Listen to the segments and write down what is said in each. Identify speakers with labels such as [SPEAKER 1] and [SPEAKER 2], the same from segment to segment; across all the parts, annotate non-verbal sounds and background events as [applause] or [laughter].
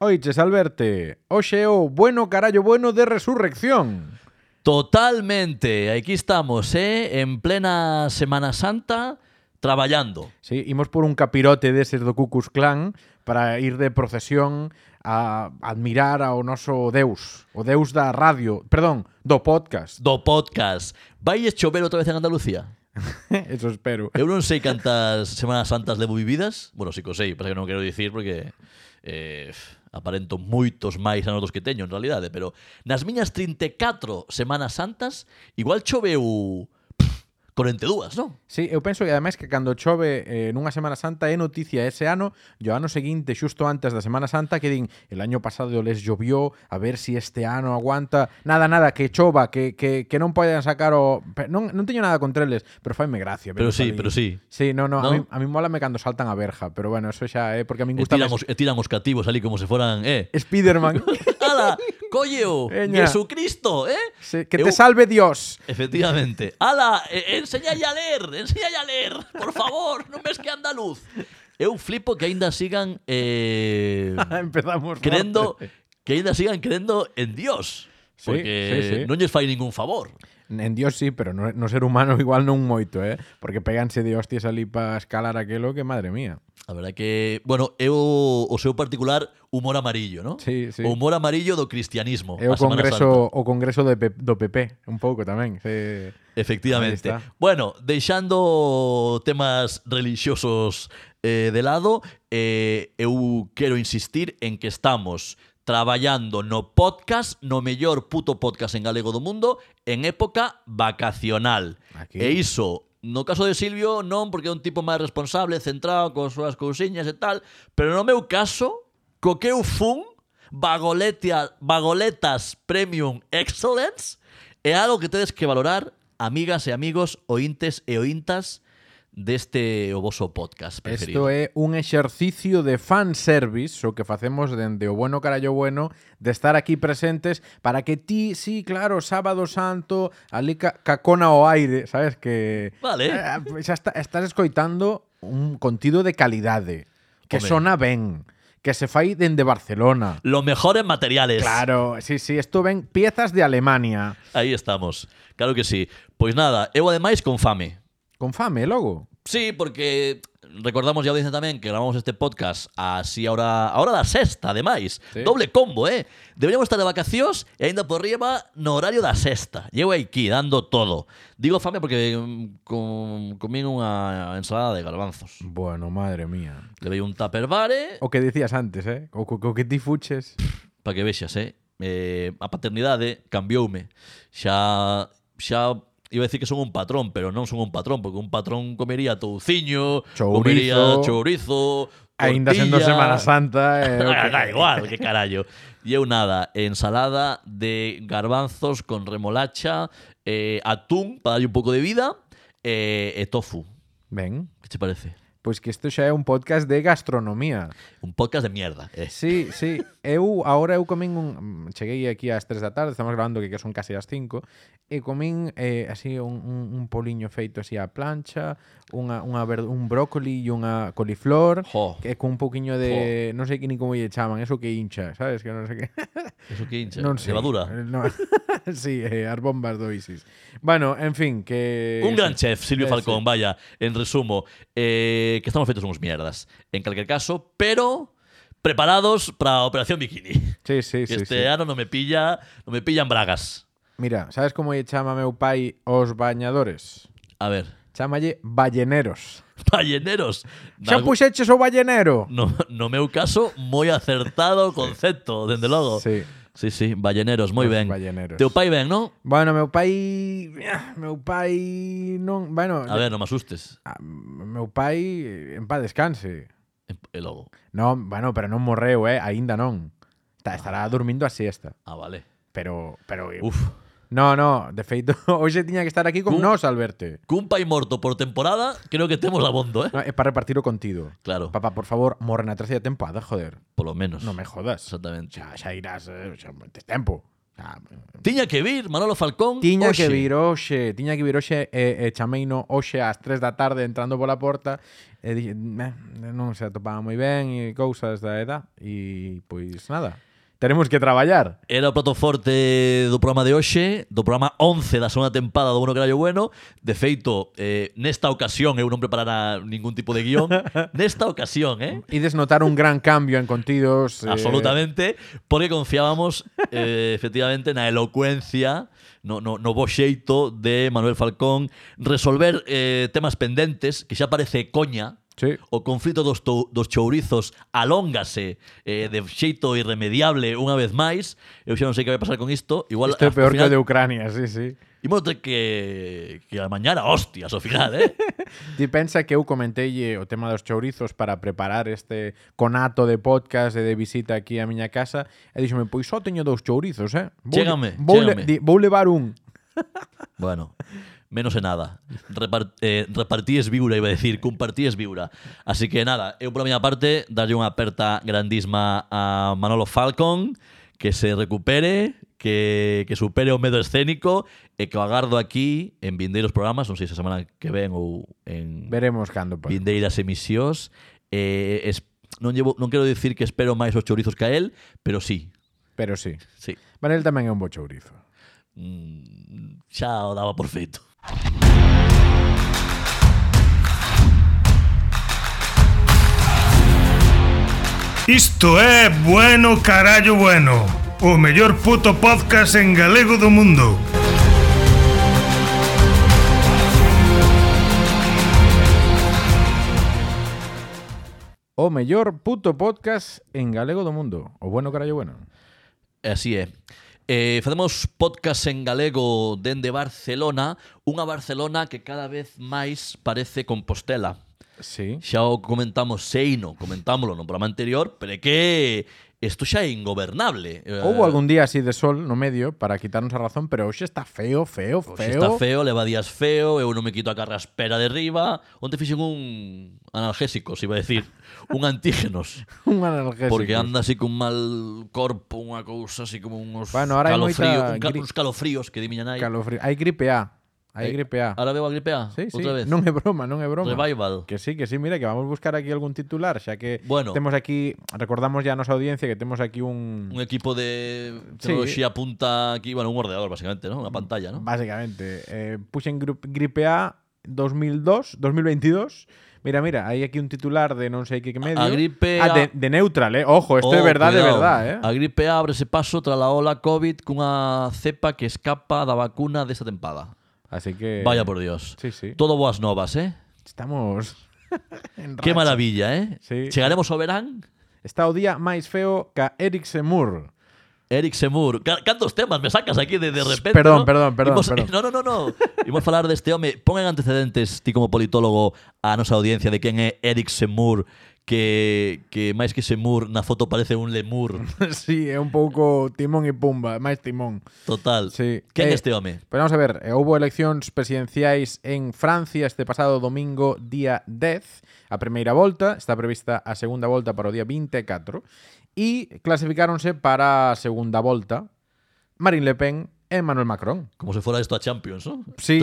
[SPEAKER 1] Oiches, Alberte, hoxe é eh, o bueno carallo bueno de resurrección.
[SPEAKER 2] Totalmente, aquí estamos, eh, en plena Semana Santa traballando.
[SPEAKER 1] Sí, imos por un capirote deses do Cucus Clan para ir de procesión a admirar ao noso deus, o deus da radio, perdón, do podcast.
[SPEAKER 2] [laughs] Do podcast. Vai chover outra vez en Andalucía?
[SPEAKER 1] Eso espero.
[SPEAKER 2] Eu non sei cantas [laughs] Semanas Santas levo vividas. Bueno, si que o sei, pasa que non quero dicir porque eh, aparento moitos máis anos dos que teño en realidade, pero nas miñas 34 Semanas Santas igual choveu pff, 42, non?
[SPEAKER 1] Sí, eu penso que ademais que cando chove eh, nunha Semana Santa é noticia ese ano e o ano seguinte, xusto antes da Semana Santa que din, el año pasado les llovió a ver si este ano aguanta nada, nada, que chova, que, que, que non poden sacar o... pe- Non, non teño nada contra eles, pero faime gracia ver
[SPEAKER 2] Pero
[SPEAKER 1] os
[SPEAKER 2] sí,
[SPEAKER 1] alí.
[SPEAKER 2] pero sí.
[SPEAKER 1] Sí, no, no,
[SPEAKER 2] ¿No?
[SPEAKER 1] a mí, a mí mólame cando saltan a verja, pero bueno, eso xa é porque a mí
[SPEAKER 2] E
[SPEAKER 1] gusta
[SPEAKER 2] tiran, os, e tiran os cativos ali como se foran, eh. [laughs]
[SPEAKER 1] Spiderman.
[SPEAKER 2] Ala, colleo,
[SPEAKER 1] Veña.
[SPEAKER 2] Jesucristo, eh?
[SPEAKER 1] Sí, que
[SPEAKER 2] Eu-
[SPEAKER 1] te salve Dios. [laughs]
[SPEAKER 2] Efectivamente. Ala, e- enséñalle a ler, enséñalle a ler, por favor, non ves que é andaluz. Eu flipo que aínda sigan eh,
[SPEAKER 1] [laughs] Empezamos.
[SPEAKER 2] crendo
[SPEAKER 1] forte.
[SPEAKER 2] que aínda sigan crendo en Dios.
[SPEAKER 1] Sí,
[SPEAKER 2] Porque
[SPEAKER 1] sí, sí.
[SPEAKER 2] non lles fai ningún favor.
[SPEAKER 1] En Dios sí, pero no, no ser humano [laughs] igual non moito, eh? Porque peganse de hostias ali para escalar aquelo que madre mía.
[SPEAKER 2] A verdade que, bueno, é o, o seu particular humor amarillo, ¿no?
[SPEAKER 1] Sí, sí.
[SPEAKER 2] O humor amarillo do cristianismo.
[SPEAKER 1] É o
[SPEAKER 2] a Semana Santa.
[SPEAKER 1] congreso o congreso de Pe- do PP, un pouco tamén. Sí.
[SPEAKER 2] Efectivamente.
[SPEAKER 1] Ahí está.
[SPEAKER 2] Bueno, deixando temas relixiosos eh, de lado, eh, eu quero insistir en que estamos traballando no podcast, no mellor puto podcast en galego do mundo, en época vacacional.
[SPEAKER 1] Aquí.
[SPEAKER 2] E iso, no caso de Silvio, non, porque é un tipo máis responsable, centrado, coas súas cousiñas e tal, pero no meu caso, co que eu fun, bagoletia, bagoletas Premium Excellence, é algo que tedes que valorar, amigas e amigos, ointes e ointas, deste o voso podcast
[SPEAKER 1] Isto
[SPEAKER 2] preferido.
[SPEAKER 1] é un exercicio de fan service o que facemos dende o bueno carallo bueno de estar aquí presentes para que ti, sí, claro, sábado santo, ali ca cacona o aire, sabes que
[SPEAKER 2] Vale.
[SPEAKER 1] Eh, xa está, estás escoitando un contido de calidade que
[SPEAKER 2] Home.
[SPEAKER 1] sona ben, que se fai dende Barcelona.
[SPEAKER 2] Lo mejor en materiales.
[SPEAKER 1] Claro, sí, sí, isto ven piezas de Alemania.
[SPEAKER 2] Aí estamos. Claro que sí. Pois nada, eu ademais con fame.
[SPEAKER 1] Con fame, logo.
[SPEAKER 2] Sí, porque recordamos ya audiencia tamén que gravamos este podcast así ahora ahora da sexta, ademais.
[SPEAKER 1] Sí.
[SPEAKER 2] Doble combo, eh. Deberíamos estar de vacacións e aínda por riba no horario da sexta. Llevo aquí dando todo. Digo fame porque mm, com, comín unha ensalada de garbanzos.
[SPEAKER 1] Bueno, madre mía.
[SPEAKER 2] Levei un tupperware
[SPEAKER 1] O que decías antes, eh? O, co- co que ti fuches.
[SPEAKER 2] para que vexas, eh? eh a paternidade cambioume. Xa xa iba a decir que son un patrón, pero non son un patrón, porque un patrón comería touciño,
[SPEAKER 1] Chourizo.
[SPEAKER 2] comería chourizo,
[SPEAKER 1] Ainda sendo
[SPEAKER 2] tortilla.
[SPEAKER 1] Semana
[SPEAKER 2] [laughs]
[SPEAKER 1] Santa, eh, o que-
[SPEAKER 2] da igual, que carallo. [laughs] E eu nada, ensalada de garbanzos con remolacha, eh, atún para darlle un pouco de vida eh, e tofu.
[SPEAKER 1] Ben,
[SPEAKER 2] Que te parece?
[SPEAKER 1] pois pues que isto xa é un podcast de gastronomía.
[SPEAKER 2] Un podcast de mierda. Eh.
[SPEAKER 1] Sí, sí. Eu agora eu comín un mm, cheguei aquí ás 3 da tarde, estamos grabando que que son case as 5, e comín eh, así un, un, un poliño feito así á plancha, unha, unha verd- un brócoli e unha coliflor,
[SPEAKER 2] Jo.
[SPEAKER 1] que con un poquinho de, non sei que ni como lle chaman, eso que hincha, sabes, que non sei que.
[SPEAKER 2] Eso que hincha.
[SPEAKER 1] [laughs] Non sei.
[SPEAKER 2] Levadura.
[SPEAKER 1] Eh, No. [laughs] sí, eh, as bombas do ISIS. Bueno, en fin, que...
[SPEAKER 2] Un gran chef,
[SPEAKER 1] Eh,
[SPEAKER 2] Silvio Falcón, vaya, en resumo, eh, que estamos feitos unos mierdas, en calquer caso, pero preparados para a Operación Bikini.
[SPEAKER 1] Sí, sí,
[SPEAKER 2] Que
[SPEAKER 1] sí. sí.
[SPEAKER 2] este ano non me pilla, non me pillan bragas.
[SPEAKER 1] Mira, sabes como lle chama meu pai os bañadores?
[SPEAKER 2] A ver, [laughs]
[SPEAKER 1] Chámalle balleneros.
[SPEAKER 2] balleneros.
[SPEAKER 1] Xa
[SPEAKER 2] Nalgú-
[SPEAKER 1] puxeches o ballenero?
[SPEAKER 2] No, no meu caso, moi acertado o concepto, dende logo. Sí,
[SPEAKER 1] Sí.
[SPEAKER 2] sí, balleneros, moi
[SPEAKER 1] Os
[SPEAKER 2] ben.
[SPEAKER 1] balleneros.
[SPEAKER 2] Teu pai ben, non?
[SPEAKER 1] Bueno, meu pai... ah, Meu pai... Non... Bueno,
[SPEAKER 2] A ver, non me asustes.
[SPEAKER 1] ah, meu pai eh, en paz descanse.
[SPEAKER 2] E e logo.
[SPEAKER 1] Non, bueno, pero non morreu, eh? Aínda non. Está, estará dormindo a siesta.
[SPEAKER 2] Ah, vale.
[SPEAKER 1] Pero... pero eh,
[SPEAKER 2] Uf.
[SPEAKER 1] No, no, de feito, [laughs] hoxe tiña que estar aquí con
[SPEAKER 2] Cun-
[SPEAKER 1] nós, Alberto.
[SPEAKER 2] Cun pai morto por temporada, creo que temos abondo, eh?
[SPEAKER 1] No, é para repartir o contido.
[SPEAKER 2] Claro,
[SPEAKER 1] Papá, por favor, morre na terceira temporada, joder.
[SPEAKER 2] polo menos.
[SPEAKER 1] Non me jodas.
[SPEAKER 2] Exactamente.
[SPEAKER 1] Xa, xa irás, eh, xa, tes tempo. Ah,
[SPEAKER 2] Tiña que vir, Manolo
[SPEAKER 1] [laughs]
[SPEAKER 2] Falcón.
[SPEAKER 1] Tiña que
[SPEAKER 2] hoxe.
[SPEAKER 1] vir hoxe, tiña que vir hoxe e, e chameino hoxe ás 3 da tarde entrando pola porta e dixe, "Meh, non se atopaba moi ben e cousas da edad e pois nada, teremos que traballar.
[SPEAKER 2] Era o plato forte do programa de hoxe, do programa 11 da segunda tempada do Bueno que era yo bueno. De feito, eh, nesta ocasión eu non preparara ningún tipo de
[SPEAKER 1] [laughs]
[SPEAKER 2] guión. nesta ocasión, eh?
[SPEAKER 1] E desnotar un gran cambio en contidos. eh,
[SPEAKER 2] Absolutamente, porque confiábamos eh, efectivamente na elocuencia, no, no, no bo xeito de Manuel Falcón resolver eh, temas pendentes que xa parece coña,
[SPEAKER 1] Sí.
[SPEAKER 2] o conflito dos, tou- dos chourizos alóngase eh, de xeito irremediable unha vez máis. Eu xa non sei que vai pasar con isto. Igual,
[SPEAKER 1] Isto é
[SPEAKER 2] ao
[SPEAKER 1] peor que o
[SPEAKER 2] final,
[SPEAKER 1] de Ucrania, sí, sí.
[SPEAKER 2] Imos ter que, que amañar a hostias ao final, eh?
[SPEAKER 1] Ti pensa que eu comentei o tema dos chourizos para preparar este conato de podcast e de visita aquí á miña casa e díxome, pois só teño dous chourizos, eh? Vou,
[SPEAKER 2] Chégame,
[SPEAKER 1] vou,
[SPEAKER 2] chégame.
[SPEAKER 1] di- vou levar un.
[SPEAKER 2] Bueno, menos e nada. Repar, eh, repartíes viura, iba a decir, compartíes viura. Así que nada, eu pola miña parte darlle unha aperta grandísima a Manolo Falcon, que se recupere, que, que supere o medo escénico e que o agardo aquí en vindeiros programas, non sei se a semana que ven ou en
[SPEAKER 1] Veremos cando. Pues.
[SPEAKER 2] vindeiras emisións. Eh, es, non, llevo, non quero dicir que espero máis os chourizos que a él, pero sí,
[SPEAKER 1] Pero sí.
[SPEAKER 2] sí.
[SPEAKER 1] Manel tamén é un bo chourizo.
[SPEAKER 2] Mm, xa o daba por feito.
[SPEAKER 3] Isto é Bueno Carallo Bueno O mellor puto podcast en galego do mundo
[SPEAKER 1] O mellor puto podcast en galego do mundo. O bueno, carallo, bueno.
[SPEAKER 2] Así é. Eh, facemos podcast en galego dende Barcelona, unha Barcelona que cada vez máis parece Compostela.
[SPEAKER 1] Sí.
[SPEAKER 2] Xa o comentamos, sei no, comentámoslo no programa anterior, pero é que isto xa é ingobernable. Eh,
[SPEAKER 1] Houve algún día así de sol no medio para quitarnos a razón, pero hoxe está feo, feo, feo.
[SPEAKER 2] Hoxe está feo, leva días feo, eu non me quito a carraspera de riba. Onte fixen un analgésico, se iba a
[SPEAKER 1] [laughs]
[SPEAKER 2] decir, un antígenos.
[SPEAKER 1] [laughs] Un analgésico.
[SPEAKER 2] Porque anda así con mal corpo, unha cousa así como uns
[SPEAKER 1] Bueno, ahora hai
[SPEAKER 2] calofríos,
[SPEAKER 1] moita
[SPEAKER 2] un cal-
[SPEAKER 1] gri-
[SPEAKER 2] uns calofríos que di miña nai.
[SPEAKER 1] Calofrío. Hai gripe A. Hai
[SPEAKER 2] Eh,
[SPEAKER 1] gripe A.
[SPEAKER 2] Ahora veo a gripe
[SPEAKER 1] Ah.
[SPEAKER 2] A,
[SPEAKER 1] Sí, sí.
[SPEAKER 2] outra vez.
[SPEAKER 1] Non é broma, non é broma.
[SPEAKER 2] Revival.
[SPEAKER 1] Que sí, que sí, mira, que vamos a buscar aquí algún titular, xa que
[SPEAKER 2] Bueno.
[SPEAKER 1] temos aquí, recordamos ya a nosa audiencia que temos aquí un,
[SPEAKER 2] Un equipo de
[SPEAKER 1] Sí.
[SPEAKER 2] tecnoloxía punta aquí, bueno, un ordenador basicamente, ¿no? Una pantalla, ¿no?
[SPEAKER 1] Básicamente. Eh, puxen gru- gripe A 2002, 2022. Mira, mira, hay aquí un titular de no sé qué, qué medio.
[SPEAKER 2] a gripe
[SPEAKER 1] Ah,
[SPEAKER 2] A-
[SPEAKER 1] de, de neutral, eh. Ojo, esto
[SPEAKER 2] Oh,
[SPEAKER 1] es verdad, de
[SPEAKER 2] cuidado.
[SPEAKER 1] verdad, eh.
[SPEAKER 2] A gripe A abrese paso tras la ola COVID cunha cepa que escapa da vacuna desta tempada.
[SPEAKER 1] Así que.
[SPEAKER 2] Vaya por Dios.
[SPEAKER 1] Sí, Eh, sí.
[SPEAKER 2] Todo boas novas, ¿eh?
[SPEAKER 1] Estamos. [laughs] en
[SPEAKER 2] Qué
[SPEAKER 1] racha.
[SPEAKER 2] maravilla, ¿eh?
[SPEAKER 1] Sí.
[SPEAKER 2] Chegaremos ao verán?
[SPEAKER 1] Está o día máis feo que Eric Semur. [laughs]
[SPEAKER 2] Eric Semur. Ca- Cantos temas me sacas aquí de, de repente.
[SPEAKER 1] Perdón,
[SPEAKER 2] ¿no?
[SPEAKER 1] perdón, perdón,
[SPEAKER 2] Imos-
[SPEAKER 1] perdón.
[SPEAKER 2] [laughs] No, no, no, no. Imos falar deste home. este Pongan antecedentes, ti como politólogo, a nosa audiencia de quen é Eric Semur, que, que máis que Semur, na foto parece un lemur.
[SPEAKER 1] sí, é un pouco timón e pumba, máis timón.
[SPEAKER 2] Total.
[SPEAKER 1] Sí.
[SPEAKER 2] Quen é
[SPEAKER 1] Eh,
[SPEAKER 2] este home?
[SPEAKER 1] Pero vamos a ver, eh, houve eleccións presidenciais en Francia este pasado domingo día 10, a primeira volta, está prevista a segunda volta para o día 24, e clasificáronse para a segunda volta Marine Le Pen e Emmanuel Macron.
[SPEAKER 2] Como se fora isto a Champions, ¿no?
[SPEAKER 1] Sí.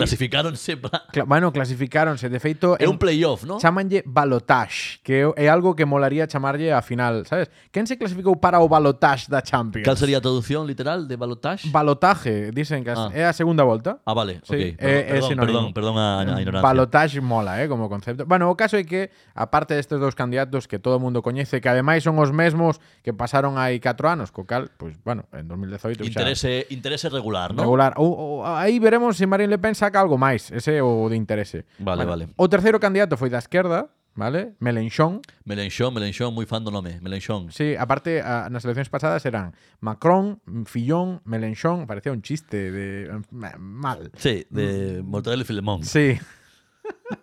[SPEAKER 1] [laughs]
[SPEAKER 2] Clasificáronse para...
[SPEAKER 1] Cla bueno, clasificáronse, de feito,
[SPEAKER 2] É
[SPEAKER 1] en-
[SPEAKER 2] un playoff, ¿no?
[SPEAKER 1] chamanlle balotage, que é- é algo que molaría chamarlle a final, sabes? Quen se clasificou para o balotage da Champions?
[SPEAKER 2] Cal sería a traducción literal de balotage?
[SPEAKER 1] Balotaje, dicen que as-
[SPEAKER 2] Ah.
[SPEAKER 1] é a segunda volta.
[SPEAKER 2] ah, vale.
[SPEAKER 1] Sí, é-
[SPEAKER 2] ok.
[SPEAKER 1] é
[SPEAKER 2] Perdón,
[SPEAKER 1] sinónimo. Eh,
[SPEAKER 2] perdón, perdón, perdón a, a ignorancia.
[SPEAKER 1] Balotage mola, eh, como concepto. Bueno, o caso é que, aparte destes dous candidatos que todo o mundo coñece, que ademais son os mesmos que pasaron hai 4 anos, co cal, pois, bueno, en 2018 xa
[SPEAKER 2] Interese, interese regular, ¿no?
[SPEAKER 1] regular. O, o, aí veremos se Marine Le Pen saca algo máis, ese é o de interese.
[SPEAKER 2] Vale, vale.
[SPEAKER 1] O terceiro candidato foi da esquerda, vale? Melenchon.
[SPEAKER 2] Melenchón, Melenchón, moi fan do nome. Melenchón.
[SPEAKER 1] Sí, aparte, a, nas eleccións pasadas eran Macron, Fillon, Melenchon, parecía un chiste de... eh, mal.
[SPEAKER 2] Sí, de Mortadelo y Filemón.
[SPEAKER 1] Mm. Sí. [laughs]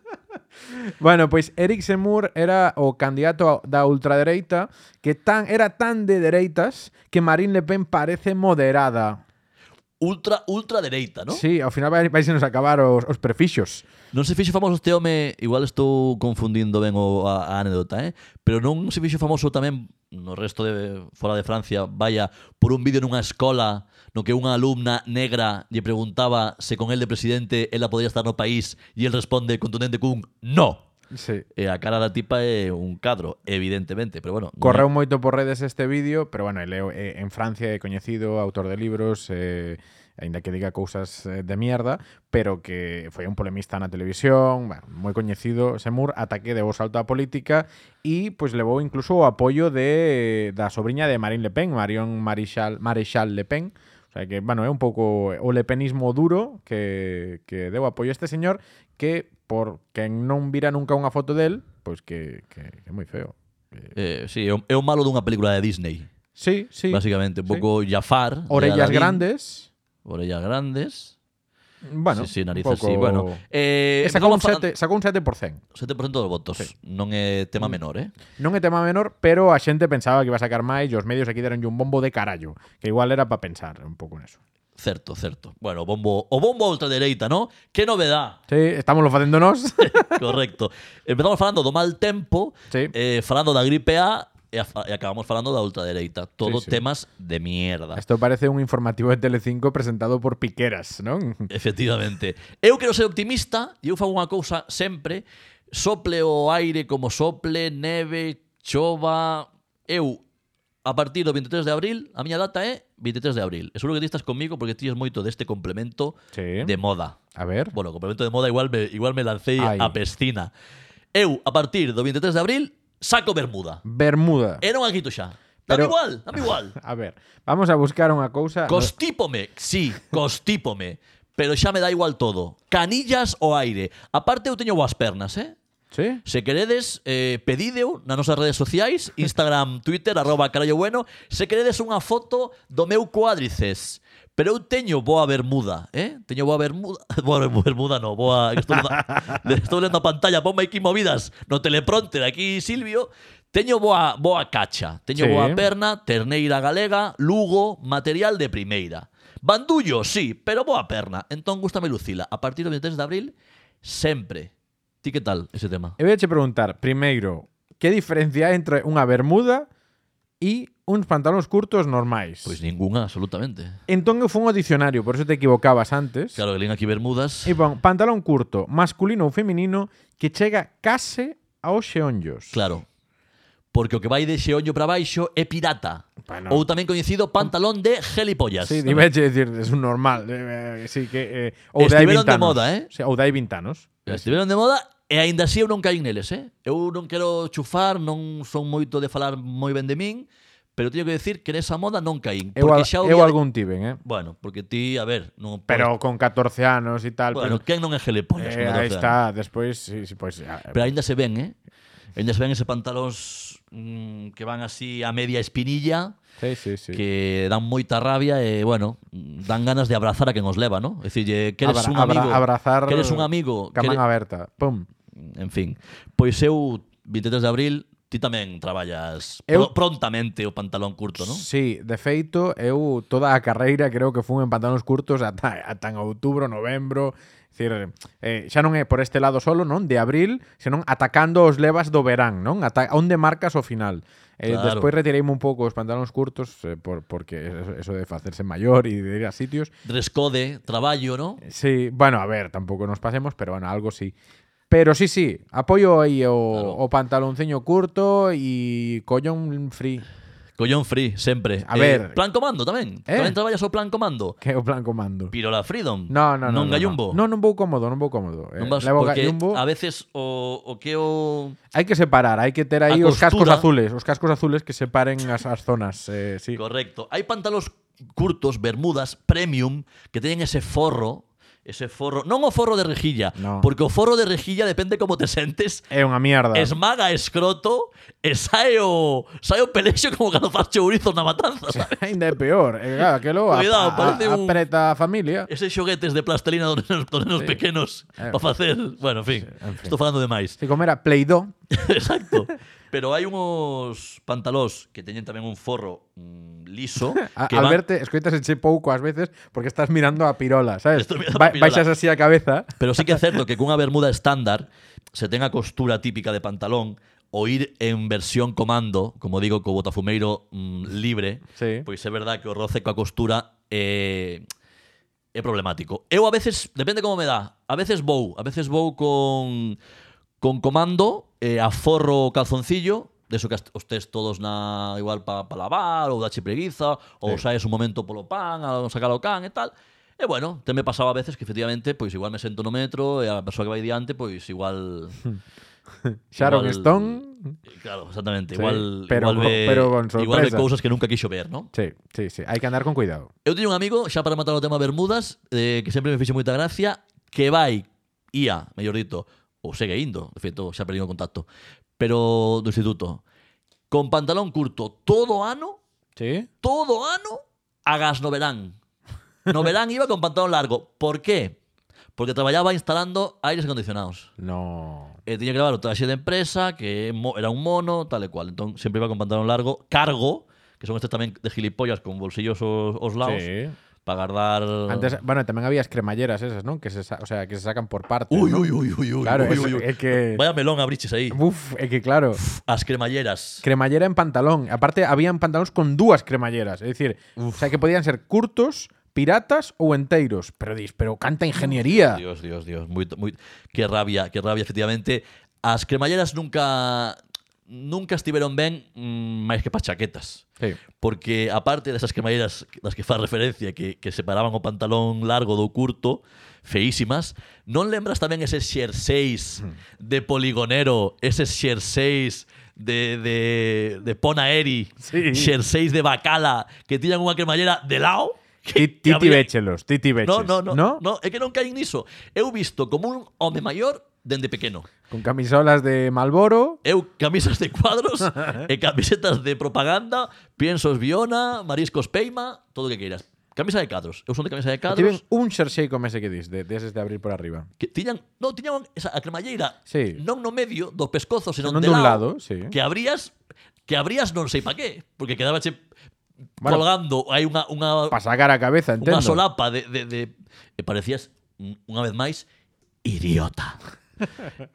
[SPEAKER 1] bueno, pois Eric Semur era o candidato da ultradereita que tan era tan de dereitas que Marine Le Pen parece moderada.
[SPEAKER 2] ultra, ultra dereita, ¿no?
[SPEAKER 1] Sí, ao final vai, vai nos acabar os, os prefixos.
[SPEAKER 2] Non se fixo famoso este home, igual estou confundindo ben o, a, a anécdota, eh? pero non se fixo famoso tamén no resto de fora de Francia, vaya, por un vídeo nunha escola no que unha alumna negra lle preguntaba se con el de presidente ela podría estar no país e el responde contundente cun no.
[SPEAKER 1] Sí.
[SPEAKER 2] E a cara da tipa é un cadro, evidentemente, pero bueno.
[SPEAKER 1] Correu moito por redes este vídeo, pero bueno, ele é o- é- en Francia é coñecido, autor de libros, eh, aínda que diga cousas eh, de mierda, pero que foi un polemista na televisión, bueno, moi coñecido, Semur, ataque de voz alta á política e pois levou incluso o apoio de da sobrinha de Marine Le Pen, Marion Marichal, Marechal Le Pen. O sea que, bueno, é un pouco o lepenismo duro que, que deu apoio a este señor que por quen non vira nunca unha foto del, pois que, que, que é moi feo.
[SPEAKER 2] Eh, sí, é o, é o malo dunha película de Disney,
[SPEAKER 1] Sí, sí.
[SPEAKER 2] basicamente, un
[SPEAKER 1] sí.
[SPEAKER 2] pouco Jafar. de
[SPEAKER 1] Orellas
[SPEAKER 2] Aladdin,
[SPEAKER 1] grandes.
[SPEAKER 2] Orellas grandes.
[SPEAKER 1] Bueno,
[SPEAKER 2] sí, sí,
[SPEAKER 1] nariz
[SPEAKER 2] nariz así. Bueno, eh,
[SPEAKER 1] sacou, un
[SPEAKER 2] empezamos a falar-
[SPEAKER 1] 7, sacou un 7%.
[SPEAKER 2] 7% dos votos.
[SPEAKER 1] Sí. Mm.
[SPEAKER 2] Non é tema menor, eh?
[SPEAKER 1] Non é tema menor, pero a xente pensaba que iba a sacar máis e os medios aquí deronlle un bombo de carallo, que igual era para pensar un pouco neso.
[SPEAKER 2] Certo, certo. Bueno, o bombo, o bombo a ultradereita, ¿no? Que
[SPEAKER 1] [laughs]
[SPEAKER 2] novedad.
[SPEAKER 1] Sí, estamos lo facendo
[SPEAKER 2] [laughs]
[SPEAKER 1] nós.
[SPEAKER 2] Correcto. Empezamos falando do mal tempo,
[SPEAKER 1] Sí.
[SPEAKER 2] eh, falando da gripe A e, a- e acabamos falando da ultradereita.
[SPEAKER 1] Sí,
[SPEAKER 2] Todos
[SPEAKER 1] sí.
[SPEAKER 2] temas de mierda.
[SPEAKER 1] Isto parece un informativo de Telecinco presentado por Piqueras, non?
[SPEAKER 2] Efectivamente. Eu quero ser optimista e eu fago unha cousa sempre, sople o aire como sople, neve, chova, eu a partir do 23 de abril, a miña data é 23 de abril. E seguro que ti estás comigo porque ti es moito deste complemento
[SPEAKER 1] Sí.
[SPEAKER 2] de moda.
[SPEAKER 1] A ver.
[SPEAKER 2] Bueno, complemento de moda igual me, igual me lancei
[SPEAKER 1] Ai.
[SPEAKER 2] a piscina. Eu, a partir do 23 de abril, saco bermuda.
[SPEAKER 1] Bermuda.
[SPEAKER 2] Era un aguito xa. Dame
[SPEAKER 1] Pero-
[SPEAKER 2] igual, dame igual.
[SPEAKER 1] A ver, vamos a buscar unha cousa.
[SPEAKER 2] Costípome, sí, costípome. Pero xa me dá igual todo. Canillas o aire. Aparte, eu teño boas pernas, eh?
[SPEAKER 1] Sí.
[SPEAKER 2] Se queredes, eh, pedídeo nas nosas redes sociais, Instagram, [laughs] Twitter, arroba carallo bueno, se queredes unha foto do meu cuádrices. Pero eu teño boa bermuda, eh? Teño boa bermuda... [laughs] Boa bermuda no, boa... que Estou lendo, estou lendo a pantalla, ponme aquí movidas no teleprompter, aquí Silvio. Teño boa, boa cacha, teño
[SPEAKER 1] Sí.
[SPEAKER 2] boa perna, terneira galega, lugo, material de primeira. Bandullo, sí, pero boa perna. Entón, gustame Lucila. A partir do 23 de abril, sempre. Ti que tal ese tema?
[SPEAKER 1] E vouche preguntar, primeiro, que diferencia hai entre unha bermuda e uns pantalóns curtos normais?
[SPEAKER 2] Pois ninguna, absolutamente.
[SPEAKER 1] Entón eu fun ao diccionario, por eso te equivocabas antes.
[SPEAKER 2] Claro, que leen aquí Bermudas.
[SPEAKER 1] E pon pantalón curto, masculino ou feminino, que chega case aos xeonllos.
[SPEAKER 2] Claro. Porque o que vai de xeoño para baixo é pirata.
[SPEAKER 1] Bueno.
[SPEAKER 2] Ou tamén coñecido pantalón de gelipollas.
[SPEAKER 1] Sí, diveche decir, es un normal. eh, eh, sí, que, eh, ou de hai 20
[SPEAKER 2] Estiveron de
[SPEAKER 1] anos.
[SPEAKER 2] moda, eh?
[SPEAKER 1] Sí, ou de hai 20 anos.
[SPEAKER 2] Estiveron de moda e aínda así eu non caín neles, eh? Eu non quero chufar, non son moito de falar moi ben de min, pero teño que decir que nesa moda non caín.
[SPEAKER 1] Eu,
[SPEAKER 2] Porque
[SPEAKER 1] al,
[SPEAKER 2] xa o
[SPEAKER 1] eu
[SPEAKER 2] vía-
[SPEAKER 1] algún tiven, eh?
[SPEAKER 2] Bueno, porque ti, a ver, non
[SPEAKER 1] Pero con 14 anos e tal.
[SPEAKER 2] bueno,
[SPEAKER 1] pero,
[SPEAKER 2] quen non é gelipollas?
[SPEAKER 1] eh,
[SPEAKER 2] con
[SPEAKER 1] aí
[SPEAKER 2] 14 anos?
[SPEAKER 1] está, despois... Sí, sí, pois, ah,
[SPEAKER 2] Pero aínda se ven, eh? Aínda se ven ese pantalóns mm, que van así a media espinilla.
[SPEAKER 1] sí, sí, sí.
[SPEAKER 2] que dan moita rabia e, bueno, dan ganas de abrazar a quen os leva, ¿no? É dicirlle, que eres
[SPEAKER 1] Abra-
[SPEAKER 2] un
[SPEAKER 1] abra-
[SPEAKER 2] amigo,
[SPEAKER 1] abrazar
[SPEAKER 2] que eres un amigo, que
[SPEAKER 1] Camán
[SPEAKER 2] eres...
[SPEAKER 1] aberta. Pum.
[SPEAKER 2] en fin. Pois eu 23 de abril ti tamén traballas
[SPEAKER 1] Eu-
[SPEAKER 2] pro- prontamente o pantalón curto, ¿no?
[SPEAKER 1] Sí, de feito, eu toda a carreira creo que fun en pantalóns curtos ata, ata en outubro, novembro Dicir, eh, xa non é por este lado solo, non? De abril, senón atacando os levas do verán, non? Ata onde marcas o final. Eh,
[SPEAKER 2] Claro.
[SPEAKER 1] Despois retireime un pouco os pantalóns curtos eh, por, porque eso- eso de facerse maior e de ir a sitios.
[SPEAKER 2] Dress code, traballo, ¿no?
[SPEAKER 1] Sí, bueno, a ver, tampouco nos pasemos, pero bueno, algo sí. Pero sí, sí, apoio aí o,
[SPEAKER 2] Claro.
[SPEAKER 1] o pantalonceño curto e collón free.
[SPEAKER 2] Collón free, sempre.
[SPEAKER 1] A
[SPEAKER 2] Eh,
[SPEAKER 1] ver.
[SPEAKER 2] Plan comando tamén.
[SPEAKER 1] Eh?
[SPEAKER 2] Tamén traballas o plan comando.
[SPEAKER 1] Que é o plan comando.
[SPEAKER 2] Pirola Freedom.
[SPEAKER 1] No, no, no.
[SPEAKER 2] Non
[SPEAKER 1] no,
[SPEAKER 2] gallumbo.
[SPEAKER 1] No, non vou cómodo, non vou cómodo. Eh,
[SPEAKER 2] Non vas,
[SPEAKER 1] levo
[SPEAKER 2] porque
[SPEAKER 1] gallumbo.
[SPEAKER 2] a veces o, o que o...
[SPEAKER 1] Hai que separar, hai que ter aí
[SPEAKER 2] A
[SPEAKER 1] os cascos
[SPEAKER 2] costura.
[SPEAKER 1] azules, os cascos azules que separen as, as zonas, eh, sí.
[SPEAKER 2] Correcto. Hay pantalos curtos, bermudas, premium, que tienen ese forro. Ese forro. No un forro de rejilla.
[SPEAKER 1] No.
[SPEAKER 2] Porque o forro de rejilla depende como te sentes.
[SPEAKER 1] É unha mierda.
[SPEAKER 2] Esmaga escroto e sae o, sae o pelexo como cando faz chourizos na matanza.
[SPEAKER 1] [laughs]
[SPEAKER 2] ¿sabes?
[SPEAKER 1] Ainda é peor. Eh, claro, aquelo a-
[SPEAKER 2] Cuidado,
[SPEAKER 1] a-
[SPEAKER 2] parece
[SPEAKER 1] a-
[SPEAKER 2] un-
[SPEAKER 1] apreta a familia.
[SPEAKER 2] Ese xoguetes de plastelina dos nenos, dos nenos pequenos para facer... Bueno, en fin,
[SPEAKER 1] Eh. en fin.
[SPEAKER 2] estou falando de
[SPEAKER 1] [laughs]
[SPEAKER 2] máis.
[SPEAKER 1] Se comera Play-Doh,
[SPEAKER 2] Exacto. Pero hai unos pantalós que teñen tamén un forro mm, liso.
[SPEAKER 1] [laughs] A,
[SPEAKER 2] que
[SPEAKER 1] al
[SPEAKER 2] van-
[SPEAKER 1] verte, escoitas eche pouco ás veces porque estás mirando a pirola, sabes?
[SPEAKER 2] Estou mirando a pirola.
[SPEAKER 1] baixas así a cabeza.
[SPEAKER 2] Pero sí que é certo que cunha bermuda estándar se ten a costura típica de pantalón o ir en versión comando, como digo, co botafumeiro mm, libre,
[SPEAKER 1] Sí.
[SPEAKER 2] pois é Pues verdad que o roce coa costura é, é problemático. Eu a veces, depende como me dá, a veces vou, a veces vou con, con comando, eh, aforro o calzoncillo, de eso que as- os tes todos na igual para pa lavar ou da chipreguiza ou
[SPEAKER 1] Sí.
[SPEAKER 2] saes un momento polo pan, a sacar o can e tal. E bueno, te me pasaba a veces que efectivamente pois igual me sento no metro e a persoa que vai diante pois
[SPEAKER 1] [laughs]
[SPEAKER 2] igual
[SPEAKER 1] Sharon
[SPEAKER 2] igual-
[SPEAKER 1] Stone.
[SPEAKER 2] Claro, exactamente,
[SPEAKER 1] Sí,
[SPEAKER 2] igual
[SPEAKER 1] pero
[SPEAKER 2] igual
[SPEAKER 1] co-
[SPEAKER 2] ve,
[SPEAKER 1] pero con
[SPEAKER 2] igual ve
[SPEAKER 1] sorpresa.
[SPEAKER 2] cousas que nunca quixo ver, ¿no?
[SPEAKER 1] Sí, sí, sí, hai que andar con cuidado.
[SPEAKER 2] Eu teño un amigo, xa para matar o tema Bermudas, eh, que sempre me fixe moita gracia, que vai, ia, mellor dito, ou segue indo, de feito, xa perdido o contacto, pero do instituto, con pantalón curto todo o ano,
[SPEAKER 1] Sí?
[SPEAKER 2] todo o ano, agas no verán. No verán iba con pantalón largo. Por qué? Porque traballaba instalando aires acondicionados.
[SPEAKER 1] No.
[SPEAKER 2] E tiña que levar o traxe de empresa, que é mo- era un mono, tal e cual. Entón, sempre iba con pantalón largo, cargo, que son estes tamén de gilipollas con bolsillos os, os lados,
[SPEAKER 1] Sí.
[SPEAKER 2] para guardar...
[SPEAKER 1] Antes, bueno, tamén había as cremalleras esas, non? Que se, sa- o sea, que se sacan por partes,
[SPEAKER 2] Ui,
[SPEAKER 1] non?
[SPEAKER 2] ui, ui, ui, ui,
[SPEAKER 1] Claro,
[SPEAKER 2] ui,
[SPEAKER 1] es-
[SPEAKER 2] ui, ui.
[SPEAKER 1] é que-
[SPEAKER 2] Vaya melón abriches aí.
[SPEAKER 1] Uf, é que claro.
[SPEAKER 2] As cremalleras.
[SPEAKER 1] Cremallera en pantalón. Aparte, habían pantalóns con dúas cremalleras. É dicir, o sea, que podían ser curtos, piratas ou enteiros. Pero dis, pero canta ingeniería.
[SPEAKER 2] Dios, Dios, Dios. Muy, muy... Que rabia, que rabia, efectivamente. As cremalleras nunca nunca estiveron ben mm, máis que pa chaquetas.
[SPEAKER 1] Sí.
[SPEAKER 2] Porque aparte desas cremalleras das que faz referencia que, que separaban o pantalón largo do curto, feísimas, non lembras tamén ese xerseis de poligonero, ese xerseis de, de, de Ponaeri,
[SPEAKER 1] Sí.
[SPEAKER 2] xerseis de Bacala, que tiñan unha cremallera de lao?
[SPEAKER 1] [laughs] Ti-
[SPEAKER 2] que- que
[SPEAKER 1] Titi
[SPEAKER 2] había-
[SPEAKER 1] Béchelos, Titi Beches.
[SPEAKER 2] No, no, no, no, é que non caen niso. Eu visto como un home maior dende pequeno.
[SPEAKER 1] Con camisolas de Malboro.
[SPEAKER 2] Eu camisas de cuadros e camisetas de propaganda, piensos Viona, mariscos Peima, todo o que queiras. Camisa de cadros. Eu son de camisa de
[SPEAKER 1] Tiven
[SPEAKER 2] cadros.
[SPEAKER 1] un xersei como ese que dis, de, de eses de abrir por arriba.
[SPEAKER 2] Que tiñan, non, tiñan esa, a cremalleira
[SPEAKER 1] Sí.
[SPEAKER 2] non no medio do pescozo, senón,
[SPEAKER 1] Non
[SPEAKER 2] de
[SPEAKER 1] dun
[SPEAKER 2] lado,
[SPEAKER 1] lado, sí.
[SPEAKER 2] que abrías que abrías non sei pa qué, porque quedabache
[SPEAKER 1] Bueno,
[SPEAKER 2] colgando, hai unha, unha
[SPEAKER 1] Para sacar a cabeza, entendo.
[SPEAKER 2] Unha solapa de, de, de e parecías mm, unha vez máis
[SPEAKER 1] [laughs]
[SPEAKER 2] idiota.